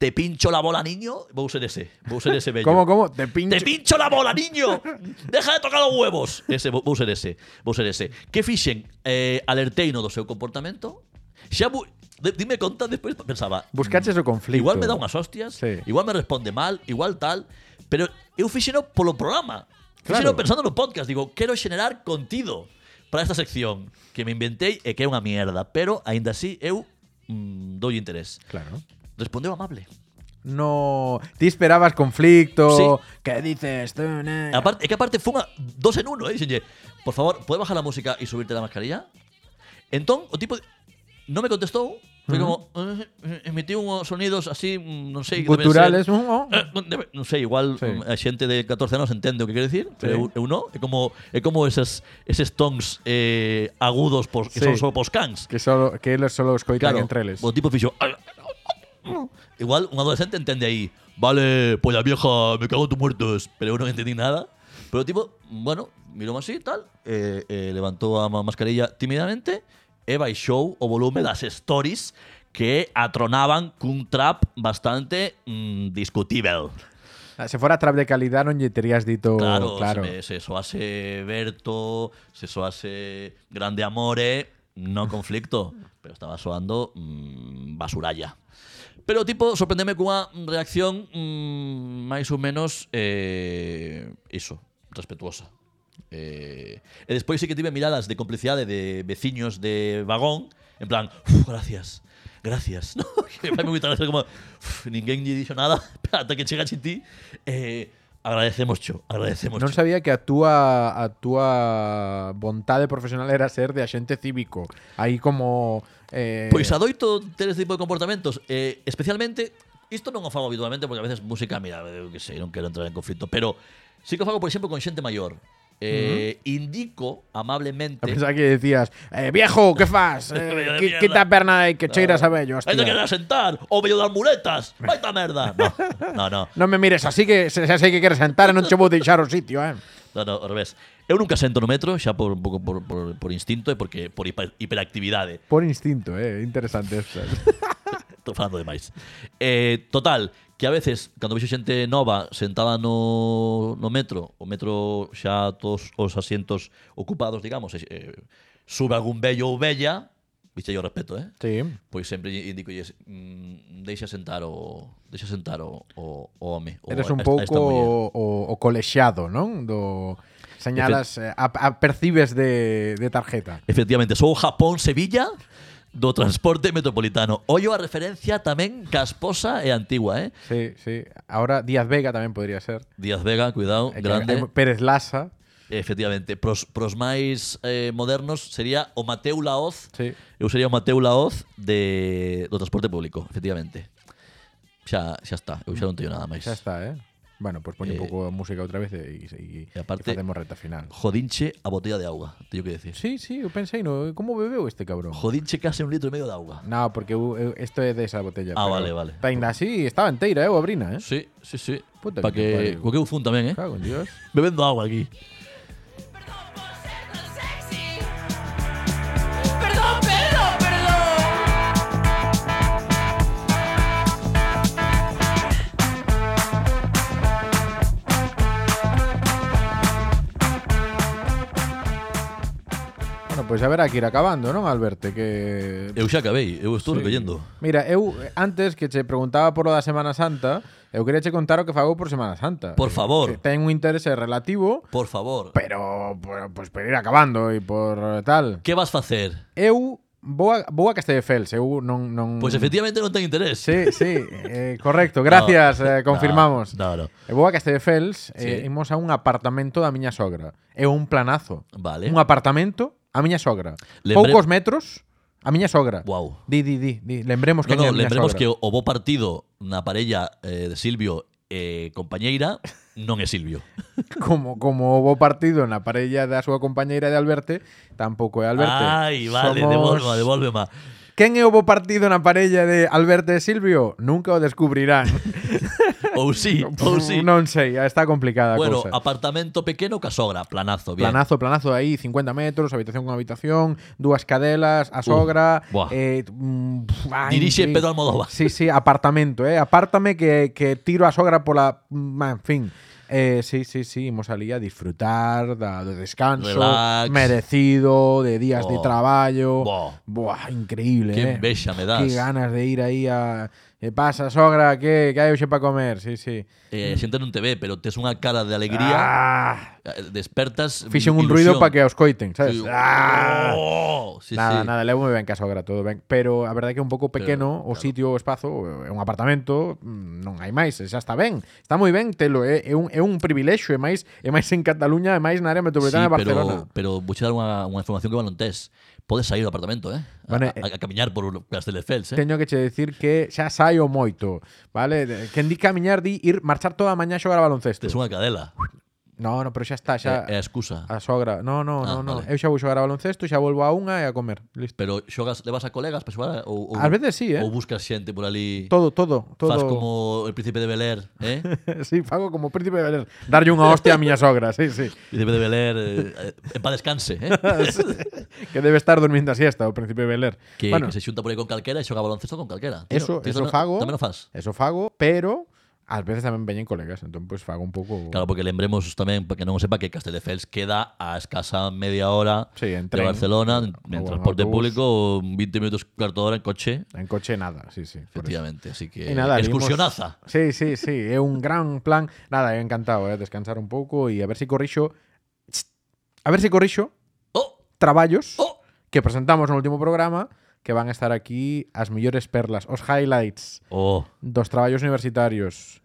[SPEAKER 2] te pincho la bola, niño, vou ser ese, vou ser ese
[SPEAKER 1] [laughs]
[SPEAKER 2] bello.
[SPEAKER 1] como, como? Te pincho.
[SPEAKER 2] Te pincho la bola, niño. Deja de tocar os huevos. Ese vou vou ser ese, vou ser ese. Que fixen? Eh, alerteino do seu comportamento? Xa bu- de- dime conta despois pensaba,
[SPEAKER 1] Buscaches o conflito.
[SPEAKER 2] Igual me dá unhas hostias,
[SPEAKER 1] Sí.
[SPEAKER 2] igual me responde mal, igual tal, pero eu fixeno polo programa.
[SPEAKER 1] Claro.
[SPEAKER 2] Fixeno pensando no podcast, digo, quero xenerar contido para esta sección que me inventei e que é unha mierda, pero aínda así eu mm, doulle interés.
[SPEAKER 1] Claro.
[SPEAKER 2] Respondeu amable.
[SPEAKER 1] No, ti esperabas conflicto.
[SPEAKER 2] Sí.
[SPEAKER 1] ¿Qué dices tú? ne?
[SPEAKER 2] Aparte, é que aparte fuma dos en uno, eh, dixenlle, por favor, pode bajar a música e subirte la mascarilla? Entón, o tipo de- non me contestou, foi como eh, eh, emitiu uns sonidos así, mm, non sei, que deben
[SPEAKER 1] Culturales.
[SPEAKER 2] ser-
[SPEAKER 1] uh, uh.
[SPEAKER 2] Eh, debe- non sei, igual
[SPEAKER 1] Sí.
[SPEAKER 2] mm, a xente de 14 anos entende o que quere dicir, pero
[SPEAKER 1] Sí.
[SPEAKER 2] eu, eu non. É como, é como esas, eses tons eh, agudos pos, que
[SPEAKER 1] Sí.
[SPEAKER 2] son só pos cans.
[SPEAKER 1] Que solo que eles solo os coitan
[SPEAKER 2] Claro,
[SPEAKER 1] entre eles.
[SPEAKER 2] o tipo fixo... "Ai, Igual un adolescente entende aí, vale, polla vieja, me cago en tu muertos, pero eu non entendí nada. Pero o tipo, bueno, mirou así tal, eh, eh, levantou a ma- mascarilla tímidamente e baixou o volume das stories que atronaban cun trap bastante mm, discutível.
[SPEAKER 1] Ah, Se fora trap de calidad non lle terías dito,
[SPEAKER 2] Claro,
[SPEAKER 1] claro.
[SPEAKER 2] Se, me- se soase Berto, se soase Grande Amore, No conflicto, [laughs] pero estaba soando mm, basuralla. Pero tipo, sorprendeme cunha reacción mm, máis ou menos eh, iso, respetuosa. Eh, e despois sí que tive miradas de complicidade de veciños de vagón, en plan, "Uf, gracias, gracias. [laughs] No, que me moitas gracias como, "Uf, ninguén lle dixo nada [laughs] ata que chega a ti. Eh, agradecemos cho, agradecemos
[SPEAKER 1] Non
[SPEAKER 2] cho.
[SPEAKER 1] sabía que a túa a túa vontade profesional era ser de axente cívico. Aí como eh
[SPEAKER 2] Pois Pues adoito ter ese tipo de comportamentos eh, Especialmente, isto non o fago habitualmente Porque a veces música, mira, eu que sei, non quero entrar en conflito Pero sí que o fago, por exemplo, con xente maior eh, Indico amablemente
[SPEAKER 1] a pensar que decías, eh, viejo, que fas? Eh,
[SPEAKER 2] Mierda.
[SPEAKER 1] qui- quita a perna aí que cheiras a vello,
[SPEAKER 2] Hai de
[SPEAKER 1] hostia.
[SPEAKER 2] quedar sentar, o vello das muletas
[SPEAKER 1] [laughs]
[SPEAKER 2] Baita merda No, no, no
[SPEAKER 1] Non me mires así que se, se sei que queres sentar e non che vou deixar o sitio, eh.
[SPEAKER 2] No, no, ao revés. Eu nunca sento no metro, xa por un pouco por, por, por instinto e porque por hiper- hiperactividade.
[SPEAKER 1] Por instinto, eh, interesante esta.
[SPEAKER 2] Estou falando demais. Eh, total, que a veces, cando vexo xente nova sentada no, no metro, o metro xa todos os asientos ocupados, digamos, e, eh, sube algún vello ou vella, viste yo respeto, eh?
[SPEAKER 1] [laughs] Sí.
[SPEAKER 2] Pois sempre lle indico lles, mm, deixa sentar o deixa sentar o, o, o home. o
[SPEAKER 1] Eres un
[SPEAKER 2] a esta- a esta
[SPEAKER 1] pouco
[SPEAKER 2] muller.
[SPEAKER 1] o, o colexiado, non? Do señalas eh, a, a percibes de, de tarjeta.
[SPEAKER 2] Efectivamente, sou o Japón Sevilla do transporte metropolitano. Ollo a referencia tamén casposa e antigua, eh?
[SPEAKER 1] Sí, sí. Ahora Díaz Vega tamén podría ser.
[SPEAKER 2] Díaz Vega, cuidado,
[SPEAKER 1] Eh, que-
[SPEAKER 2] grande.
[SPEAKER 1] eh, Pérez Lasa.
[SPEAKER 2] Efectivamente, pros, pros máis eh, modernos sería o Mateu Laoz.
[SPEAKER 1] Sí.
[SPEAKER 2] Eu sería o Mateu Laoz de, do transporte público, efectivamente. Xa, xa está, eu xa non teño nada máis.
[SPEAKER 1] Xa está, eh? Bueno, pues poñe
[SPEAKER 2] Eh,
[SPEAKER 1] un pouco de música outra vez e, e, e,
[SPEAKER 2] e aparte-
[SPEAKER 1] e facemos reta final.
[SPEAKER 2] Jodinche a botella de auga, teño que decir.
[SPEAKER 1] Sí, sí, eu pensei no, como bebeu este cabrón?
[SPEAKER 2] Jodinche case un litro e medio de auga.
[SPEAKER 1] No, porque uh, eh, eu- eu- isto é desa botella.
[SPEAKER 2] Ah,
[SPEAKER 1] pero
[SPEAKER 2] vale, vale.
[SPEAKER 1] Ainda así, estaba enteira, eh, o abrina, eh?
[SPEAKER 2] Sí, sí, sí.
[SPEAKER 1] Puta
[SPEAKER 2] Pa
[SPEAKER 1] que te pariu.
[SPEAKER 2] que, co que eu fun tamén, eh?
[SPEAKER 1] Cago en Dios.
[SPEAKER 2] Bebendo agua aquí.
[SPEAKER 5] Perdón por ser tan sexy. Perdón, perdón, perdón.
[SPEAKER 1] Bueno, pois pues a ver aquí ir acabando, non, Alberto? Que
[SPEAKER 2] Eu xa acabei, eu estou
[SPEAKER 1] Sí.
[SPEAKER 2] recollendo.
[SPEAKER 1] Mira, eu eh, antes que che preguntaba por lo da Semana Santa, eu quería che contar o que fago por Semana Santa.
[SPEAKER 2] Por favor.
[SPEAKER 1] Que ten un interese relativo,
[SPEAKER 2] Por favor,
[SPEAKER 1] pero por- pois por ir acabando e por eh, tal.
[SPEAKER 2] que vas facer?
[SPEAKER 1] Eu vou a, vou a Castelldefels, este eu non non
[SPEAKER 2] Pois Pues efectivamente non ten interés.
[SPEAKER 1] Mm. Sí, sí, eh, correcto. Gracias, eh, confirmamos. E
[SPEAKER 2] No, no.
[SPEAKER 1] Eu vou a Castelldefels e
[SPEAKER 2] Sí.
[SPEAKER 1] imos a un apartamento da miña sogra. É un planazo.
[SPEAKER 2] Vale.
[SPEAKER 1] Un apartamento a miña sogra.
[SPEAKER 2] Lembre-
[SPEAKER 1] Poucos metros a miña sogra.
[SPEAKER 2] Guau.
[SPEAKER 1] Di, di, di, di. Lembremos que
[SPEAKER 2] No, no,
[SPEAKER 1] é a miña
[SPEAKER 2] lembremos
[SPEAKER 1] sogra.
[SPEAKER 2] que o, o bo partido na parella eh, de Silvio e compañeira non é Silvio.
[SPEAKER 1] como como houbo partido na parella da súa compañeira de Alberto, tampouco é Alberto.
[SPEAKER 2] Ai, vale,
[SPEAKER 1] Somos-
[SPEAKER 2] devolva, devolvema.
[SPEAKER 1] Quen é o bo partido na parella de Alberto e Silvio? Nunca o descubrirán. [laughs]
[SPEAKER 2] Ou sí, ou sí.
[SPEAKER 1] Non sei, está complicada a
[SPEAKER 2] bueno,
[SPEAKER 1] cousa.
[SPEAKER 2] apartamento pequeno casogra, planazo, bien.
[SPEAKER 1] Planazo, planazo aí, 50 metros, habitación con habitación, dúas cadelas, a sogra,
[SPEAKER 2] buah.
[SPEAKER 1] eh, mm, pf, ah,
[SPEAKER 2] Dirixe
[SPEAKER 1] increíble.
[SPEAKER 2] Pedro Almodóvar.
[SPEAKER 1] Sí, sí, apartamento, eh, apártame que, que tiro a sogra pola, mm, en fin. Eh, sí, sí, sí, imos ali a disfrutar da, do descanso
[SPEAKER 2] Relax.
[SPEAKER 1] merecido, de días de
[SPEAKER 2] Buah.
[SPEAKER 1] traballo.
[SPEAKER 2] Buah.
[SPEAKER 1] Buah, increíble,
[SPEAKER 2] Que
[SPEAKER 1] eh.
[SPEAKER 2] envexa me
[SPEAKER 1] Que
[SPEAKER 2] das.
[SPEAKER 1] ganas de ir aí a Que pasa, sogra, que que hai hoxe para comer? Sí, sí.
[SPEAKER 2] Eh, xente non te ve, pero tes unha cara de alegría,
[SPEAKER 1] Ah,
[SPEAKER 2] eh, despertas
[SPEAKER 1] fixen un
[SPEAKER 2] ilusión.
[SPEAKER 1] ruido para que os coiten, sabes?
[SPEAKER 2] Sí,
[SPEAKER 1] Ah.
[SPEAKER 2] oh, sí,
[SPEAKER 1] nada,
[SPEAKER 2] sí.
[SPEAKER 1] nada, levo moi ben que a sogra todo ben, pero a verdade é que é un pouco pequeno o
[SPEAKER 2] claro.
[SPEAKER 1] sitio, o espazo, é un apartamento, mm, non hai máis, xa está ben. Está moi ben, telo, é, é un é un privilexio, e máis é máis en Cataluña, é máis na área metropolitana de Barcelona.
[SPEAKER 2] Pero, pero vou che dar unha, unha información que van non tes. Podes sair do apartamento, eh? A,
[SPEAKER 1] Bueno,
[SPEAKER 2] a, a camiñar por Castelefels, eh?
[SPEAKER 1] Teño que che decir que xa saio moito, vale? De- Quen di camiñar di ir marchar toda a mañá a xogar a baloncesto.
[SPEAKER 2] Tes unha cadela.
[SPEAKER 1] No, no, pero xa está, xa
[SPEAKER 2] É, é a Eh, excusa.
[SPEAKER 1] a sogra. No, no,
[SPEAKER 2] Ah,
[SPEAKER 1] no, no.
[SPEAKER 2] vale.
[SPEAKER 1] Eu xa vou xogar a baloncesto, xa volvo a unha e a comer. Listo.
[SPEAKER 2] Pero xogas, levas a colegas para xogar ou, ou,
[SPEAKER 1] Ás veces sí, eh.
[SPEAKER 2] ou buscas xente por ali.
[SPEAKER 1] Todo, todo, todo.
[SPEAKER 2] Fas como el príncipe de Bel Air,
[SPEAKER 1] [laughs]
[SPEAKER 2] eh?
[SPEAKER 1] sí, fago como príncipe de Belén. Darlle unha hostia a miña sogra, sí, sí.
[SPEAKER 2] príncipe de Bel Air, eh, en pa descanse, eh?
[SPEAKER 1] [laughs] que debe estar durmiendo a siesta o príncipe Beler.
[SPEAKER 2] que,
[SPEAKER 1] bueno,
[SPEAKER 2] que se xunta por aí con calquera e xoga baloncesto con calquera. Tío,
[SPEAKER 1] eso,
[SPEAKER 2] tío,
[SPEAKER 1] eso
[SPEAKER 2] no-
[SPEAKER 1] fago.
[SPEAKER 2] Tamén o fas.
[SPEAKER 1] Eso fago, pero Ás veces tamén veñen colegas, entón pois fago un pouco
[SPEAKER 2] Claro, porque lembremos tamén, para que non o sepa, que Castelldefels queda a escasa media hora
[SPEAKER 1] Sí, en
[SPEAKER 2] de
[SPEAKER 1] tren,
[SPEAKER 2] Barcelona, en,
[SPEAKER 1] ou en
[SPEAKER 2] en transporte
[SPEAKER 1] autobús.
[SPEAKER 2] público, 20 minutos, cuarto de hora en coche,
[SPEAKER 1] en coche nada, sí, sí. por eso.
[SPEAKER 2] efectivamente. Así
[SPEAKER 1] E
[SPEAKER 2] que,
[SPEAKER 1] nada, vimos-
[SPEAKER 2] excursionaza.
[SPEAKER 1] Sí, sí, sí, é un gran plan. Nada, eu encantado, eh, descansar un pouco e a ver si corrixo a ver si corrixo
[SPEAKER 2] Oh,
[SPEAKER 1] traballos
[SPEAKER 2] oh,
[SPEAKER 1] que presentamos no último programa que van a estar aquí as millores perlas, os highlights
[SPEAKER 2] oh.
[SPEAKER 1] dos traballos universitarios.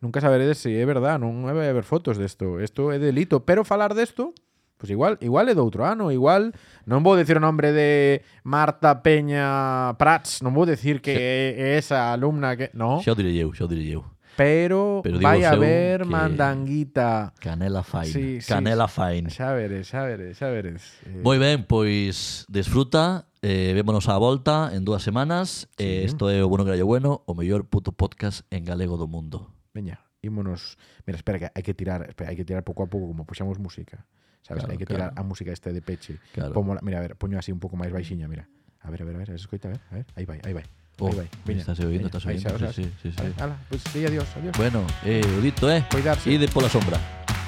[SPEAKER 1] Nunca saberedes se é verdad, non vai haber fotos desto. Isto é delito, pero falar desto, pois igual, igual é do outro ano, igual non vou decir o nome de Marta Peña Prats, non vou decir que é, é esa alumna que, no,
[SPEAKER 2] Xa o direi eu, xa o direi eu.
[SPEAKER 1] pero,
[SPEAKER 2] Pero digo
[SPEAKER 1] vai
[SPEAKER 2] eu
[SPEAKER 1] haber
[SPEAKER 2] que-
[SPEAKER 1] mandanguita.
[SPEAKER 2] Canela fine.
[SPEAKER 1] Sí, sí,
[SPEAKER 2] Canela
[SPEAKER 1] sí.
[SPEAKER 2] fine.
[SPEAKER 1] Xa veres, xa veres, xa veres. Eh,
[SPEAKER 2] Moi ben, pois pues disfruta, eh, vémonos á volta en dúas semanas. Eh, isto é o Bueno Grallo Bueno, o mellor puto podcast en galego do mundo.
[SPEAKER 1] Veña, ímonos. Mira, espera, que hai que tirar, espera, hai que tirar pouco a pouco, como puxamos música. Sabes,
[SPEAKER 2] Claro,
[SPEAKER 1] hai que
[SPEAKER 2] claro.
[SPEAKER 1] tirar a música este de peche.
[SPEAKER 2] Claro.
[SPEAKER 1] Pómola- mira, a ver, poño así un pouco máis baixiña, mira. A ver, a ver, a ver, a ver, escoita, a ver, a ver. Aí vai, aí vai.
[SPEAKER 2] Oh,
[SPEAKER 1] aí vai. Veña.
[SPEAKER 2] estás oindo,
[SPEAKER 1] veña,
[SPEAKER 2] estás
[SPEAKER 1] aí
[SPEAKER 2] oindo,
[SPEAKER 1] xa, xa.
[SPEAKER 2] sí, sí, sí, sí.
[SPEAKER 1] Ala, Ala, pois pues, adiós, adiós.
[SPEAKER 2] Bueno, eh, o dito, eh?
[SPEAKER 1] Cuidarse.
[SPEAKER 2] Ide pola sombra.